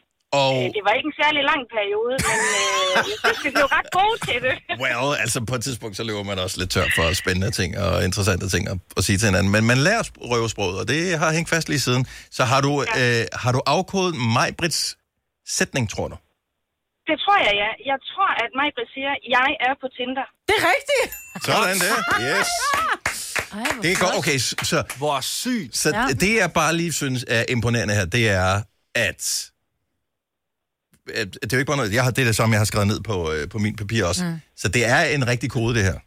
Og... Øh, Det var ikke en særlig lang periode, men øh, jeg synes, vi blev ret gode til det. Well, altså på et tidspunkt, så løber man også lidt tør for spændende ting og interessante ting at, at sige til hinanden. Men man lærer sp- røvesproget, og det har hængt fast lige siden. Så har du, ja. øh, har du afkodet Majbrits sætning, tror du? Det tror jeg, ja. Jeg tror, at Majbrit siger, jeg er på Tinder. Det er rigtigt. Sådan der. Yes. Ej, hvor Det er godt. flot. Okay, så, så, Hvor sygt. så Ja. det, jeg bare lige synes er imponerende her, det er, at at det er jo ikke bare noget, jeg har, det er det samme, jeg har skrevet ned på, øh, på min papir også. Mm. Så det er en rigtig kode, det her.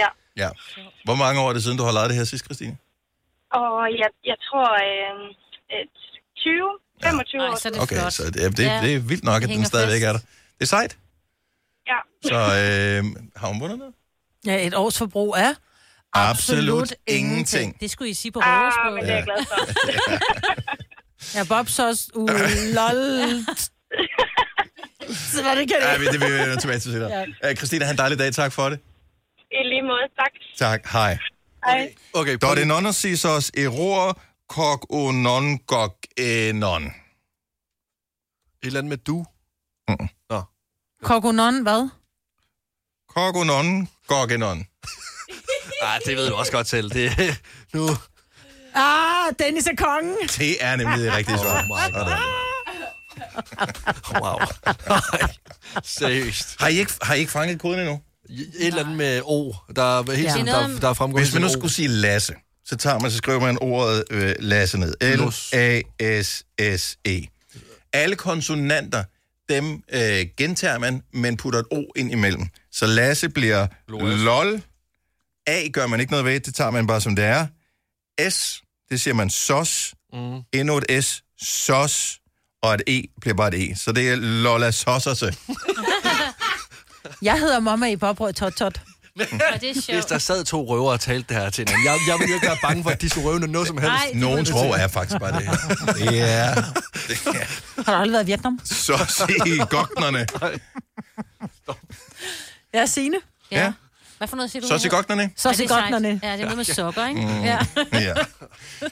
Ja. Ja. Hvor mange år er det siden, du har lejet det her sidst, Christine? Og jeg, jeg tror, øh, øh, 20, 25 ja. år Ej, så er siden. det Okay, flot. så det, det, Ja. det er vildt nok, at Det den hænger stadigvæk fast. er der. Det er sejt. Ja. Så øh, har hun vundet noget? Ja, et års forbrug er... Det skulle I sige på Ah, Rådhusbåden. men det er jeg glad for. Ja, Bob så uh, lol. Så var det ikke Ja, vi- det vil vi vende tilbage til senere. Ja. Christina, have en dejlig dag. Tak for det. I lige måde, tak. Tak. Hej. Hej. Okay, prøv Dot lige- non sis os eror kok o non gok e non. Et eller andet med du. Kokonon, hvad? Kok o non gok e non. Nej, det ved du også godt selv. Det, nu. Ah, Dennis er kongen. Det er nemlig det rigtige svar. Oh my god. Wow. Nej, seriøst. Har I ikke, har I ikke fanget koden endnu? Et eller andet med O. Der er helt Ja. tiden, Det er noget der, om- der er fremgået Hvis man nu sådan et O. skulle sige Lasse, så tager man, så skriver man ordet øh, Lasse ned. L-A-S-S-E. E. Alle konsonanter, dem øh, gentager man, men putter et O ind imellem. Så Lasse bliver LOL. A gør man ikke noget ved, det tager man bare som det er. S, det siger man SOS. Mm. Endnu et S, SOS. Og et E bliver bare et E. Så det er Lola Sossose. Jeg hedder mamma i Bobrød Tot Tot. Og det er Hvis sjovt. der sad to røvere og talte det her til hinanden. Jeg, jeg ville jo ikke være bange for, at de skulle røve noget som helst. Nej, det Nogen tror er faktisk bare det. Ja. Har du aldrig været i Vietnam? Så se gognerne. Jeg er Signe. Ja. Hvad for noget siger du? Så se gognerne. Så Ja, er det det er godt, sejt. når det... Ja, det er noget med sokker, ikke? Mm. Ja. Ja.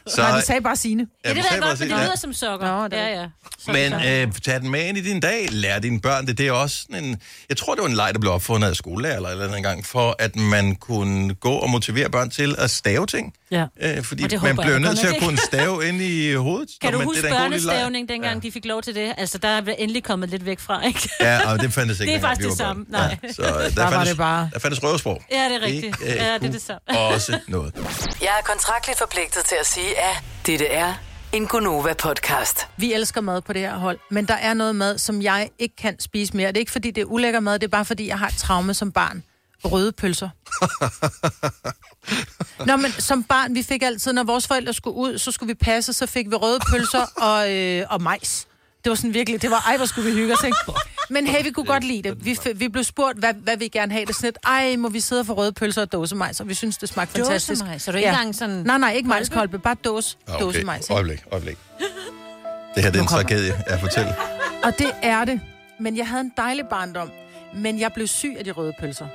Så, Nej, de sagde bare Signe. ja, det vi ved sagde jeg godt, men det præcis- lyder som sokker. Nå, det er ja, det. ja. Så Men så. øh, tag den med ind i din dag. Lær dine børn det. Det er også sådan en... Jeg tror, det var en leg, der blev opfundet af skolelærer eller et eller andet engang, for at man kunne gå og motivere børn til at stave ting. Ja. Øh, fordi Og det man håber bliver jeg, nødt det til at kommer kunne stave ind i hovedet. Nå, Kan du men huske det er da en god lille leg. børnestavning, dengang ja. de fik lov til det? Altså, der er endelig kommet lidt væk fra, ikke? Ja, og det fandtes ikke. Det er dengang, faktisk vi det var samme. børn. Nej. Ja, så øh, der, var fandtes, det bare- der fandtes røversprog. Ja, det er rigtigt. Ikke, øh, Ja, det er kunne det samme. Også noget. Jeg er kontraktligt forpligtet til at sige, at dette er en Gunova-podcast. Vi elsker mad på det her hold, men der er noget mad, som jeg ikke kan spise mere. Det er ikke, fordi det er ulækker mad, det er bare, fordi jeg har et traume som barn. Røde pølser. Nå, men som barn, vi fik altid, når vores forældre skulle ud, så skulle vi passe, så fik vi røde pølser og, øh, og majs. Det var sådan virkelig, det var, ej, hvor skulle vi hygge os, ikke? Men hey, vi kunne godt lide det. Vi, f- vi blev spurgt, hvad, hvad vi gerne have det sådan et, ej, må vi sidde for røde pølser og dåsemajs, og vi synes, det smagte fantastisk. Dåsemajs? Så du ikke engang sådan- Nej, nej, ikke majskolbe, bare dåse, Ah, okay. dåsemajs. ikke? Øjeblik, øjeblik. Det her det er en kommer- tragedie, jeg fortæller. Og det er det. Men jeg havde en dejlig barndom. Men jeg blev syg af de røde pølser.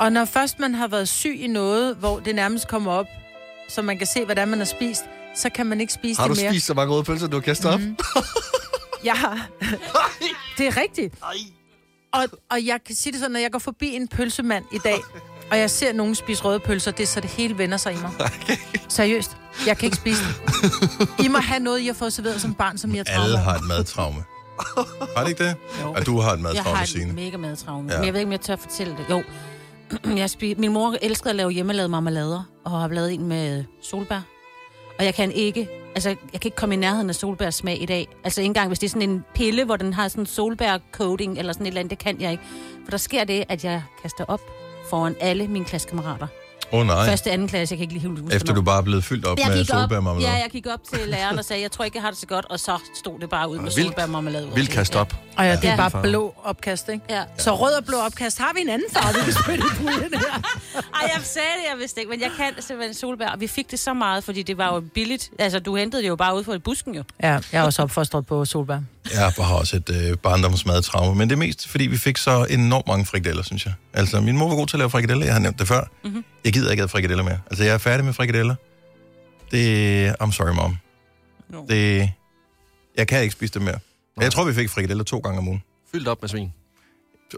Og når først man har været syg i noget, hvor det nærmest kommer op, så man kan se, hvordan man har spist, så kan man ikke spise Har du det mere. spist så mange røde pølser, du har kastet op? Mhm. Jeg har. det er rigtigt. Og, og jeg kan sige det sådan, når jeg går forbi en pølsemand i dag, og jeg ser nogen spise røde pølser, det er så det hele vender sig i mig. Seriøst. Jeg kan ikke spise det. I må have noget, I har fået serveret som barn, som jeg Alle tror. har et madtraume. Har de ikke det? Og du har et Jeg har madtraume, et Signe. mega madtravne. Ja. Ja. Men jeg ved ikke, om jeg tør fortælle det. Jo. Jeg spi- Min mor elskede at lave hjemmelavede marmelader, og har lavet en med solbær. Og jeg kan ikke, altså, jeg kan ikke komme i nærheden af solbærs smag i dag. Altså, ikke engang hvis det er sådan en pille, hvor den har sådan en solbær-coating eller sådan et eller andet, det kan jeg ikke. For der sker det, at jeg kaster op foran alle mine klassekammerater. Åh oh, nej. Første, anden klasse, jeg kan ikke lige helt huske Efter du hvornår. bare er blevet fyldt op jeg med gik op, solbærmarmelade. ja, jeg gik op til læreren og sagde, jeg tror ikke, jeg har det så godt, og så stod det bare ud med Vildt. solbærmarmelade. ud over Vildt det. kastet op. Og ja, det er Ja. bare blå opkast, ikke? Ja. Så rød og blå opkast har vi en anden farve, vi kan spille i puljen her. Ej, jeg sagde det, jeg vidste ikke, men jeg kan simpelthen solbær. Og vi fik det så meget, fordi det var jo billigt. Altså, du hentede det jo bare ud fra busken jo. Ja, jeg er også opfostret på solbær. Jeg har også et øh, barndomsmadtraume, men det er mest, fordi vi fik så enormt mange frikadeller, synes jeg. Altså, min mor var god til at lave frikadeller, jeg har nævnt det før. Mhm. Mm-hmm. Jeg gider ikke have frikadeller mere. Altså, jeg er færdig med frikadeller. Det... I'm sorry, mom. No. Det... Jeg kan ikke spise det mere. Jeg tror, vi fik frikadeller to gange om ugen. Fyldt op med svin.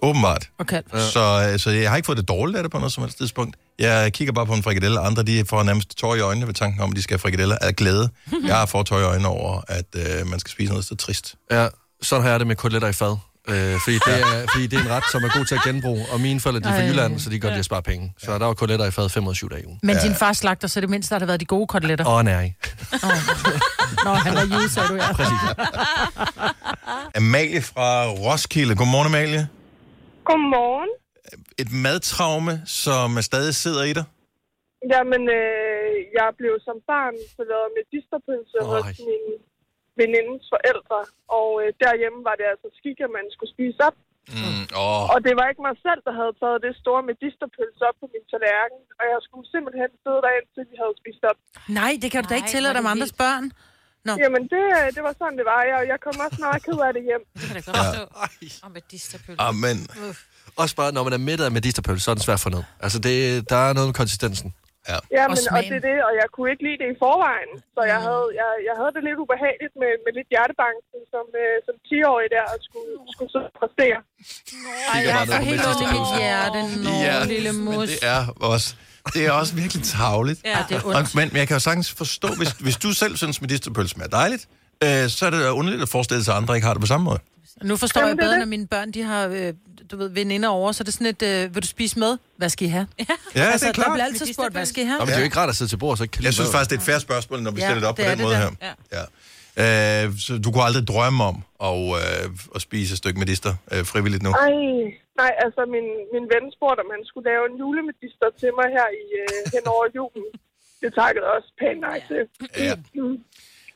Åbenbart. Okay. Ja. Så, så jeg har ikke fået det dårligt af det på noget som helst tidspunkt. Jeg kigger bare på en frikadelle, og andre de får nærmest tår i øjnene ved tanken om, at de skal have frikadeller af glæde. Jeg får tår i øjnene over, at øh, man skal spise noget så trist. Ja, sådan har jeg det med koteletter i fad. Øh, fordi, det er, fordi det er en ret, som er god til at genbruge. Og mine forældre, de er fra Ej. Jylland, så de kan godt lide at spare penge. Så der var koteletter i fad 25 dage i ugen. Men din far slagter, så det mindste har der været de gode koteletter. Åh, nej. Nå, han var jyde, sagde du, ja. Præcis. Amalie fra Roskilde. Godmorgen, Amalie. Godmorgen. Et madtraume, som stadig sidder i dig. Jamen, øh, jeg blev som barn serveret med dysterpølse Ej. hos min venindes forældre. Og øh, derhjemme var det altså skik, at man skulle spise op. Mm, åh, Og det var ikke mig selv, der havde taget det store med dysterpølse op på min tallerken. Og jeg skulle simpelthen sidde der, indtil vi havde spist op. Nej, det kan du da ikke Nej, tillade hvor dig er med det andres vildt. børn. Jamen, det, øh, det var sådan, det var. Jeg, jeg kom også meget ked af det hjem. Det kan da godt forstå. Og med distapølle. amen. Også bare, når man er mættet af medisterpølse, så er den svær for ned. Altså, det, der er noget med konsistensen. Jamen, og, og smagen. det er det, og jeg kunne ikke lide det i forvejen. Så jeg havde, jeg, jeg havde det lidt ubehageligt med, med lidt hjertebanken som, øh, som 10-årig der, og skulle, skulle sidde og præstere. Ej, jeg bare har ned på fået helt ondt i medisterpølsen. mit hjerte. Nå, Ja, lille men mus. det er også, det er også virkelig tavligt. Ja, det er Og, men, men jeg kan jo sagtens forstå, hvis, hvis du selv synes, medisterpølse smager dejligt, øh, så er det jo underligt at forestille sig, at andre ikke har det på samme måde. Nu forstår Jamen, jeg det er bedre, det. når mine børn, de har, øh, du ved, veninder over, så er det sådan et, øh, vil du spise med? Hvad skal I have? Ja, Ja, altså, det er der bliver klart. altid spurgt, hvad skal I have? Og men det er jo ikke rart at sidde til bord, og så ikke kan Jeg lide synes maden. faktisk, det er et færre spørgsmål, når vi Ja, stiller det op på det er den det måde her. da. Ja. Øh, så du kunne aldrig drømme om at, øh, at spise et stykke medister øh, frivilligt nu? Ej, nej, altså min, min ven spurgte, om han skulle lave en julemedister til mig her i, øh, hen over julen. Det takkede jeg også pænt nej til. Ja.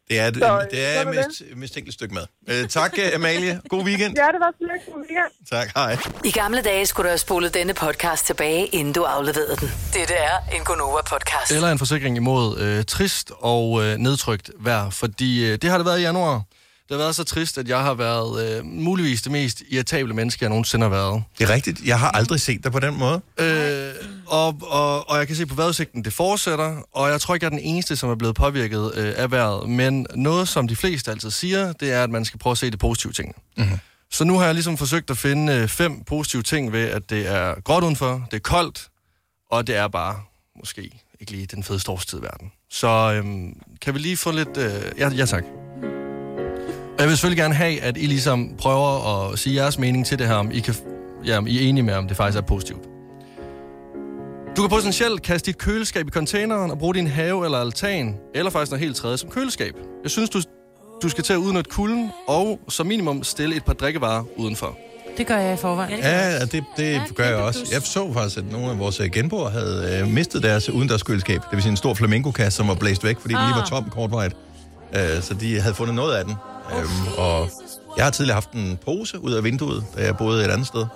Det er, et- Så, øh, det er et sådan er mist, mistænkeligt stykke mad. Øh, tak, øh, Amalie. God weekend. Ja, det var så lidt, som vi kan. Tak, hej. I gamle dage skulle du have spolet denne podcast tilbage, inden du afleverede den. Dette er en Gonova-podcast. Eller en forsikring imod øh, trist og øh, nedtrykt vejr, fordi øh, det har det været i januar. Det har været så trist, at jeg har været øh, muligvis det mest irritable menneske, jeg nogensinde har været. Det er rigtigt. Jeg har aldrig set dig på den måde. Øh, og, og, og jeg kan se på vejrudsigten, det fortsætter, og jeg tror ikke, jeg er den eneste, som er blevet påvirket øh, af vejret. Men noget, som de fleste altid siger, det er, at man skal prøve at se det positive ting. Mm-hmm. Så nu har jeg ligesom forsøgt at finde øh, fem positive ting ved, at det er gråt udenfor, det er koldt, og det er bare måske ikke lige den fedeste årstid i verden. Så øhm, kan vi lige få lidt... Øh, ja, ja, tak. Og jeg vil selvfølgelig gerne have, at I ligesom prøver at sige jeres mening til det her, om I, kan, ja, om I er enige med, om det faktisk er positivt. Du kan potentielt kaste dit køleskab i containeren og bruge din have eller altan, eller faktisk noget helt tredje som køleskab. Jeg synes, du, du skal til at udnytte kulden og som minimum stille et par drikkevarer udenfor. Det gør jeg i forvejen. Ja, og det, det gør jeg også. Jeg så faktisk, at nogle af vores øh, genboer havde øh, mistet deres udendørskøleskab. Det vil sige en stor flamingokasse, som var blæst væk, fordi den lige var tom kortvarigt. Øh, så de havde fundet noget af den. Øhm, og jeg har tidligere haft en pose ud af vinduet, da jeg boede et andet sted.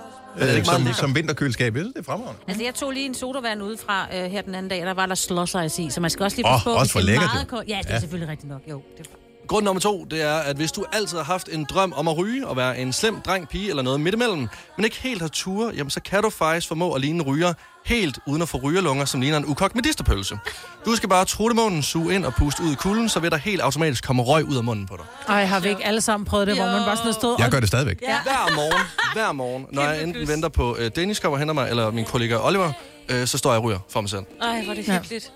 Øh, som, som vinterkøleskab. Jeg synes, det er fremragende. Altså, jeg tog lige en sodavand udefra øh, her den anden dag, og der var der slåsejs i, så man skal også lige Åh, passe på. også hvis for det er lækkert, meget jo. ko- Ja, det er ja. selvfølgelig rigtigt nok, jo. Det er... Grund nummer to, det er, at hvis du altid har haft en drøm om at ryge og være en slem dreng, pige eller noget midt imellem, men ikke helt har ture, jamen så kan du faktisk formå at ligne en ryger helt uden at få rygerlunger, som ligner en ukogt medisterpølse. Du skal bare trutte munden, suge ind og puste ud i kulden, så vil der helt automatisk komme røg ud af munden på dig. Ej, har vi ikke alle sammen prøvet det, hvor man bare sådan stod Jeg og... gør det stadigvæk. Ja. Hver morgen, hver morgen, når jeg enten venter på øh, Dennis kommer og henter mig, eller min kollega Oliver, øh, så står jeg og ryger for mig selv. Ej, hvor er det hyggeligt.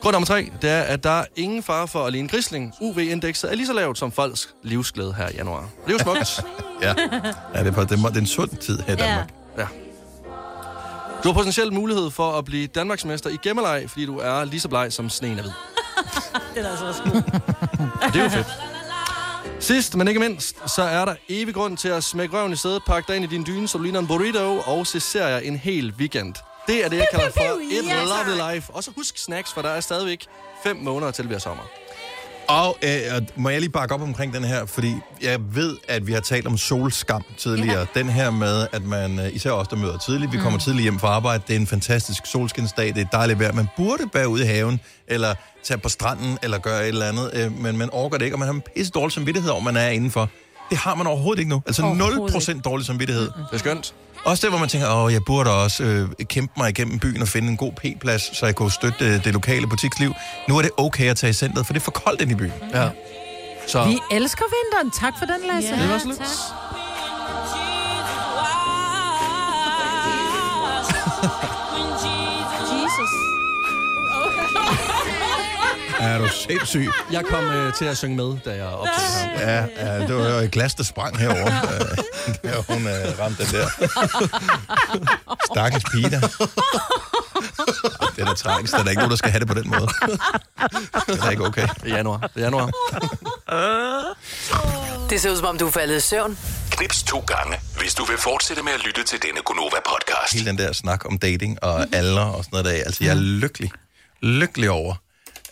Grund nummer tre, det er, at der er ingen fare for at ligne grisling. UV-indekset er lige så lavt som folks livsglæde her i januar. Og Det er jo smukt. Ja, ja det, er, faktisk- det, er, det er en sund tid her i Danmark. ja. Du har potentielt mulighed for at blive Danmarksmester i gemmeleg, fordi du er lige så bleg som sneen er hvid. Den er altså også god. Og det er jo fedt. Sidst, men ikke mindst, så er der evig grund til at smække røven i sædet, pakke dig ind i din dyne, så du ligner en burrito, og se serier en hel weekend. Det er det, jeg kalder for et lovely life. Og så husk snacks, for der er stadigvæk fem måneder til, vi har sommer. Og øh, og må jeg lige bakke op omkring den her, fordi jeg ved, at vi har talt om solskam tidligere. Ja. Mm. Den her med, at man, øh, især os, der møder tidligt, vi kommer tidligt hjem fra arbejde, det er en fantastisk solskinsdag, det er dejligt vejr, man burde bage ud i haven, eller tage på stranden, eller gøre et eller andet, øh, men man orker det ikke, og man har en pisse dårlig samvittighed over, man er indenfor. Det har man overhovedet ikke nu. Altså 0% dårlig samvittighed. Det er skønt. Også der, hvor man tænker, åh, jeg burde også øh, kæmpe mig igennem byen og finde en god p-plads, så jeg kunne støtte øh, det lokale butiksliv. Nu er det okay at tage i centret, for det er for koldt ind i byen. Ja. Så Vi elsker vinteren. Tak for den, Lasse. det var så lidt. Jesus. Er du sindssyg? Jeg kom øh, til at synge med, da jeg optog det her. Ja, ja, det var jo et glas, der sprang herovre, øh, da hun øh, ramte den der. Stakkels pige der. Ej, Det er da tragisk. Der er da ikke nogen, der skal have det på den måde. Det er da ikke okay. Det er januar. Det er januar. Det ser ud som om, du er faldet i søvn. Knips to gange, hvis du vil fortsætte med at lytte til denne Gonova-podcast. hele den der snak om dating og alder og sådan noget der. Altså, jeg er lykkelig, lykkelig over,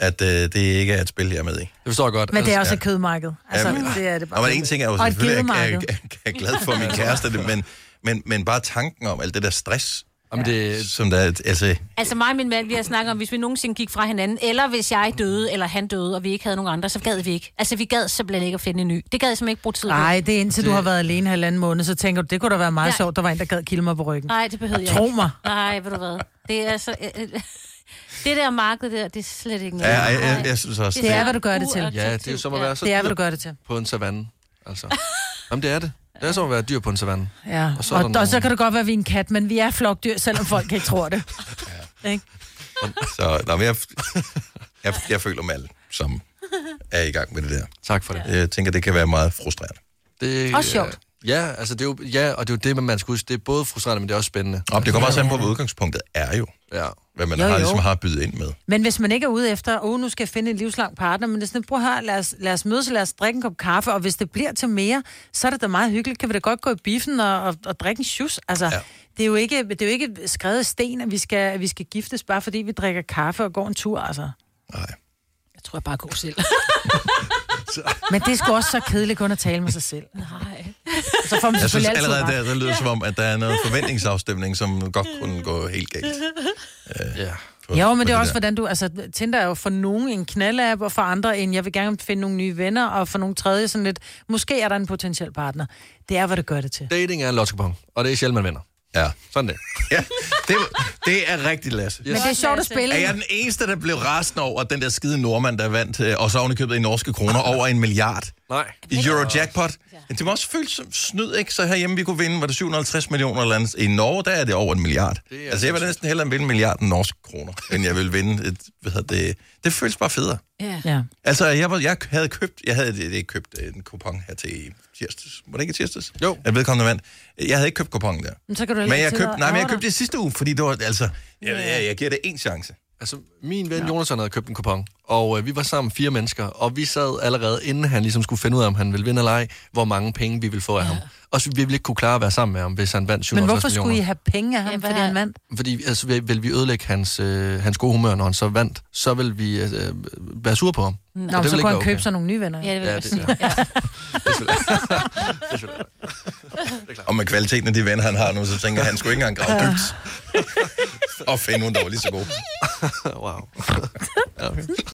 at øh, det ikke er et spil, jeg er med i. Det forstår jeg godt. Men det er også Altså, et kødmarked. Altså, Ja, men- det er det bare. Nå, men en ting er jo Og et selvfølgelig, at jeg, gedemarked. jeg, jeg, jeg er glad for min kæreste, det- men, men, men bare tanken om alt det der stress, Jamen, det, som der er- altså, Altså mig og min mand, vi har snakket om, hvis vi nogensinde gik fra hinanden, eller hvis jeg døde, eller han døde, og vi ikke havde nogen andre, så gad vi ikke. Altså vi gad simpelthen ikke at finde en ny. Det gad jeg simpelthen ikke bruge tid på. Nej, det er indtil du har været alene halvanden måned, så tænker du, det kunne da være meget Nej. sjovt, der var en, der gad kilde mig på ryggen. Nej, det behøvede jeg Tro ikke. mig. Nej, ved du hvad. Det er altså... Øh, øh, det der marked der, det er slet ikke noget. ja, jeg, jeg, jeg synes også, Det det er, er, hvad du gør det til. ja, det er jo som at være så Det er, hvad dyr du gør det til. på en savanne. Altså. Jamen, det er det. Det er som at være dyr på en savanne. Ja. Og, Og så så er der og, og så nogle- kan det godt være, at vi er en kat, men vi er flokdyr, selvom folk ikke tror det. Ikke? så nå, men jeg, jeg, jeg føler mig alle, som er i gang med det der. Tak for det. Jeg tænker, det kan være meget frustrerende. det Også sjovt. Ja, altså det er jo, ja, og det er jo det, man skal huske. Det er både frustrerende, men det er også spændende. Og det kommer også an på, hvad udgangspunktet er jo, Ja. hvad man Jo, jo, har, jo. ligesom har at byde ind med. Men hvis man ikke er ude efter, åh, oh, nu skal jeg finde en livslang partner, men det er sådan, prøv her, lad os, lad os mødes, og lad os drikke en kop kaffe, og hvis det bliver til mere, så er det da meget hyggeligt. Kan vi da godt gå i biffen og, og, og drikke en sjus? Altså, ja. det, er jo ikke, det er jo ikke skrevet i sten, at vi skal, at vi skal giftes, bare fordi vi drikker kaffe og går en tur, altså. Nej. Jeg tror, jeg bare går selv. Men det er sgu også så kedeligt kun at tale med sig selv. Nej. Så får man Jeg synes selvfølgelig altid allerede ret. der, der lyder som om, at der er noget forventningsafstemning, som godt kunne gå helt galt. ja. på- Ja, på men det er også, der. hvordan du... Altså, Tinder er jo for nogen en knaldapp, og for andre en, jeg vil gerne finde nogle nye venner, og for nogle tredje sådan lidt, måske er der en potentiel partner. Det er, hvad det gør det til. Dating er en lottokupon, og det er sjældent, man vinder. Ja. Sådan det. ja det, det er rigtigt, Lasse. Men det er sjovt at spille. Er jeg den eneste, der blev rasende over den der skide nordmand, der vandt, øh, og så ovenikøbet i norske kroner, over en milliard? Nej. I Eurojackpot. Ja. Det må også føles som snyd, ikke? Så herhjemme, vi kunne vinde, var det 750 millioner eller andet. I Norge, der er det over en milliard. Det er altså, jeg vil næsten hellere vinde en milliard norske kroner, end jeg vil vinde et, hvad hedder det, det føles bare federe. Ja. Ja. Altså, jeg, var, jeg havde købt, jeg havde det, det købt øh, en kupon her til i tirsdags. Var det ikke i tirsdags? Jo. Jeg vedkommende vandt. Jeg havde ikke købt kuponen der. Men så kan du heller Men ikke jeg sidde købte, og nej, men jeg ærgre købte det sidste uge, fordi det var, altså, jeg, jeg, jeg giver det en chance. Altså, min ven Jonas havde købt en kupon, og øh, vi var sammen fire mennesker, og vi sad allerede, inden han ligesom skulle finde ud af, om han ville vinde eller ej, hvor mange penge vi ville få af ham. Og så vi ville ikke kunne klare at være sammen med ham, hvis han vandt Men 750 hvorfor skulle I millioner. have penge af ham, Ja, ja, hvad fordi er- han vandt? Fordi altså, vil- ville vi ødelægge hans, øh, hans gode humør, når han så vandt, så ville vi øh, være sure på ham. Nå, men ville så ikke kunne han være købe okay. sig nogle nye venner. Ja, Ja. det vil Ja, jeg det, sige. ja. det, er selvfølgelig- det er selvfølgelig- Og med kvaliteten af de venner, han har nu, så tænker jeg, han skulle ikke engang grave dybt. og finde nogen, der var lige så gode. Wow.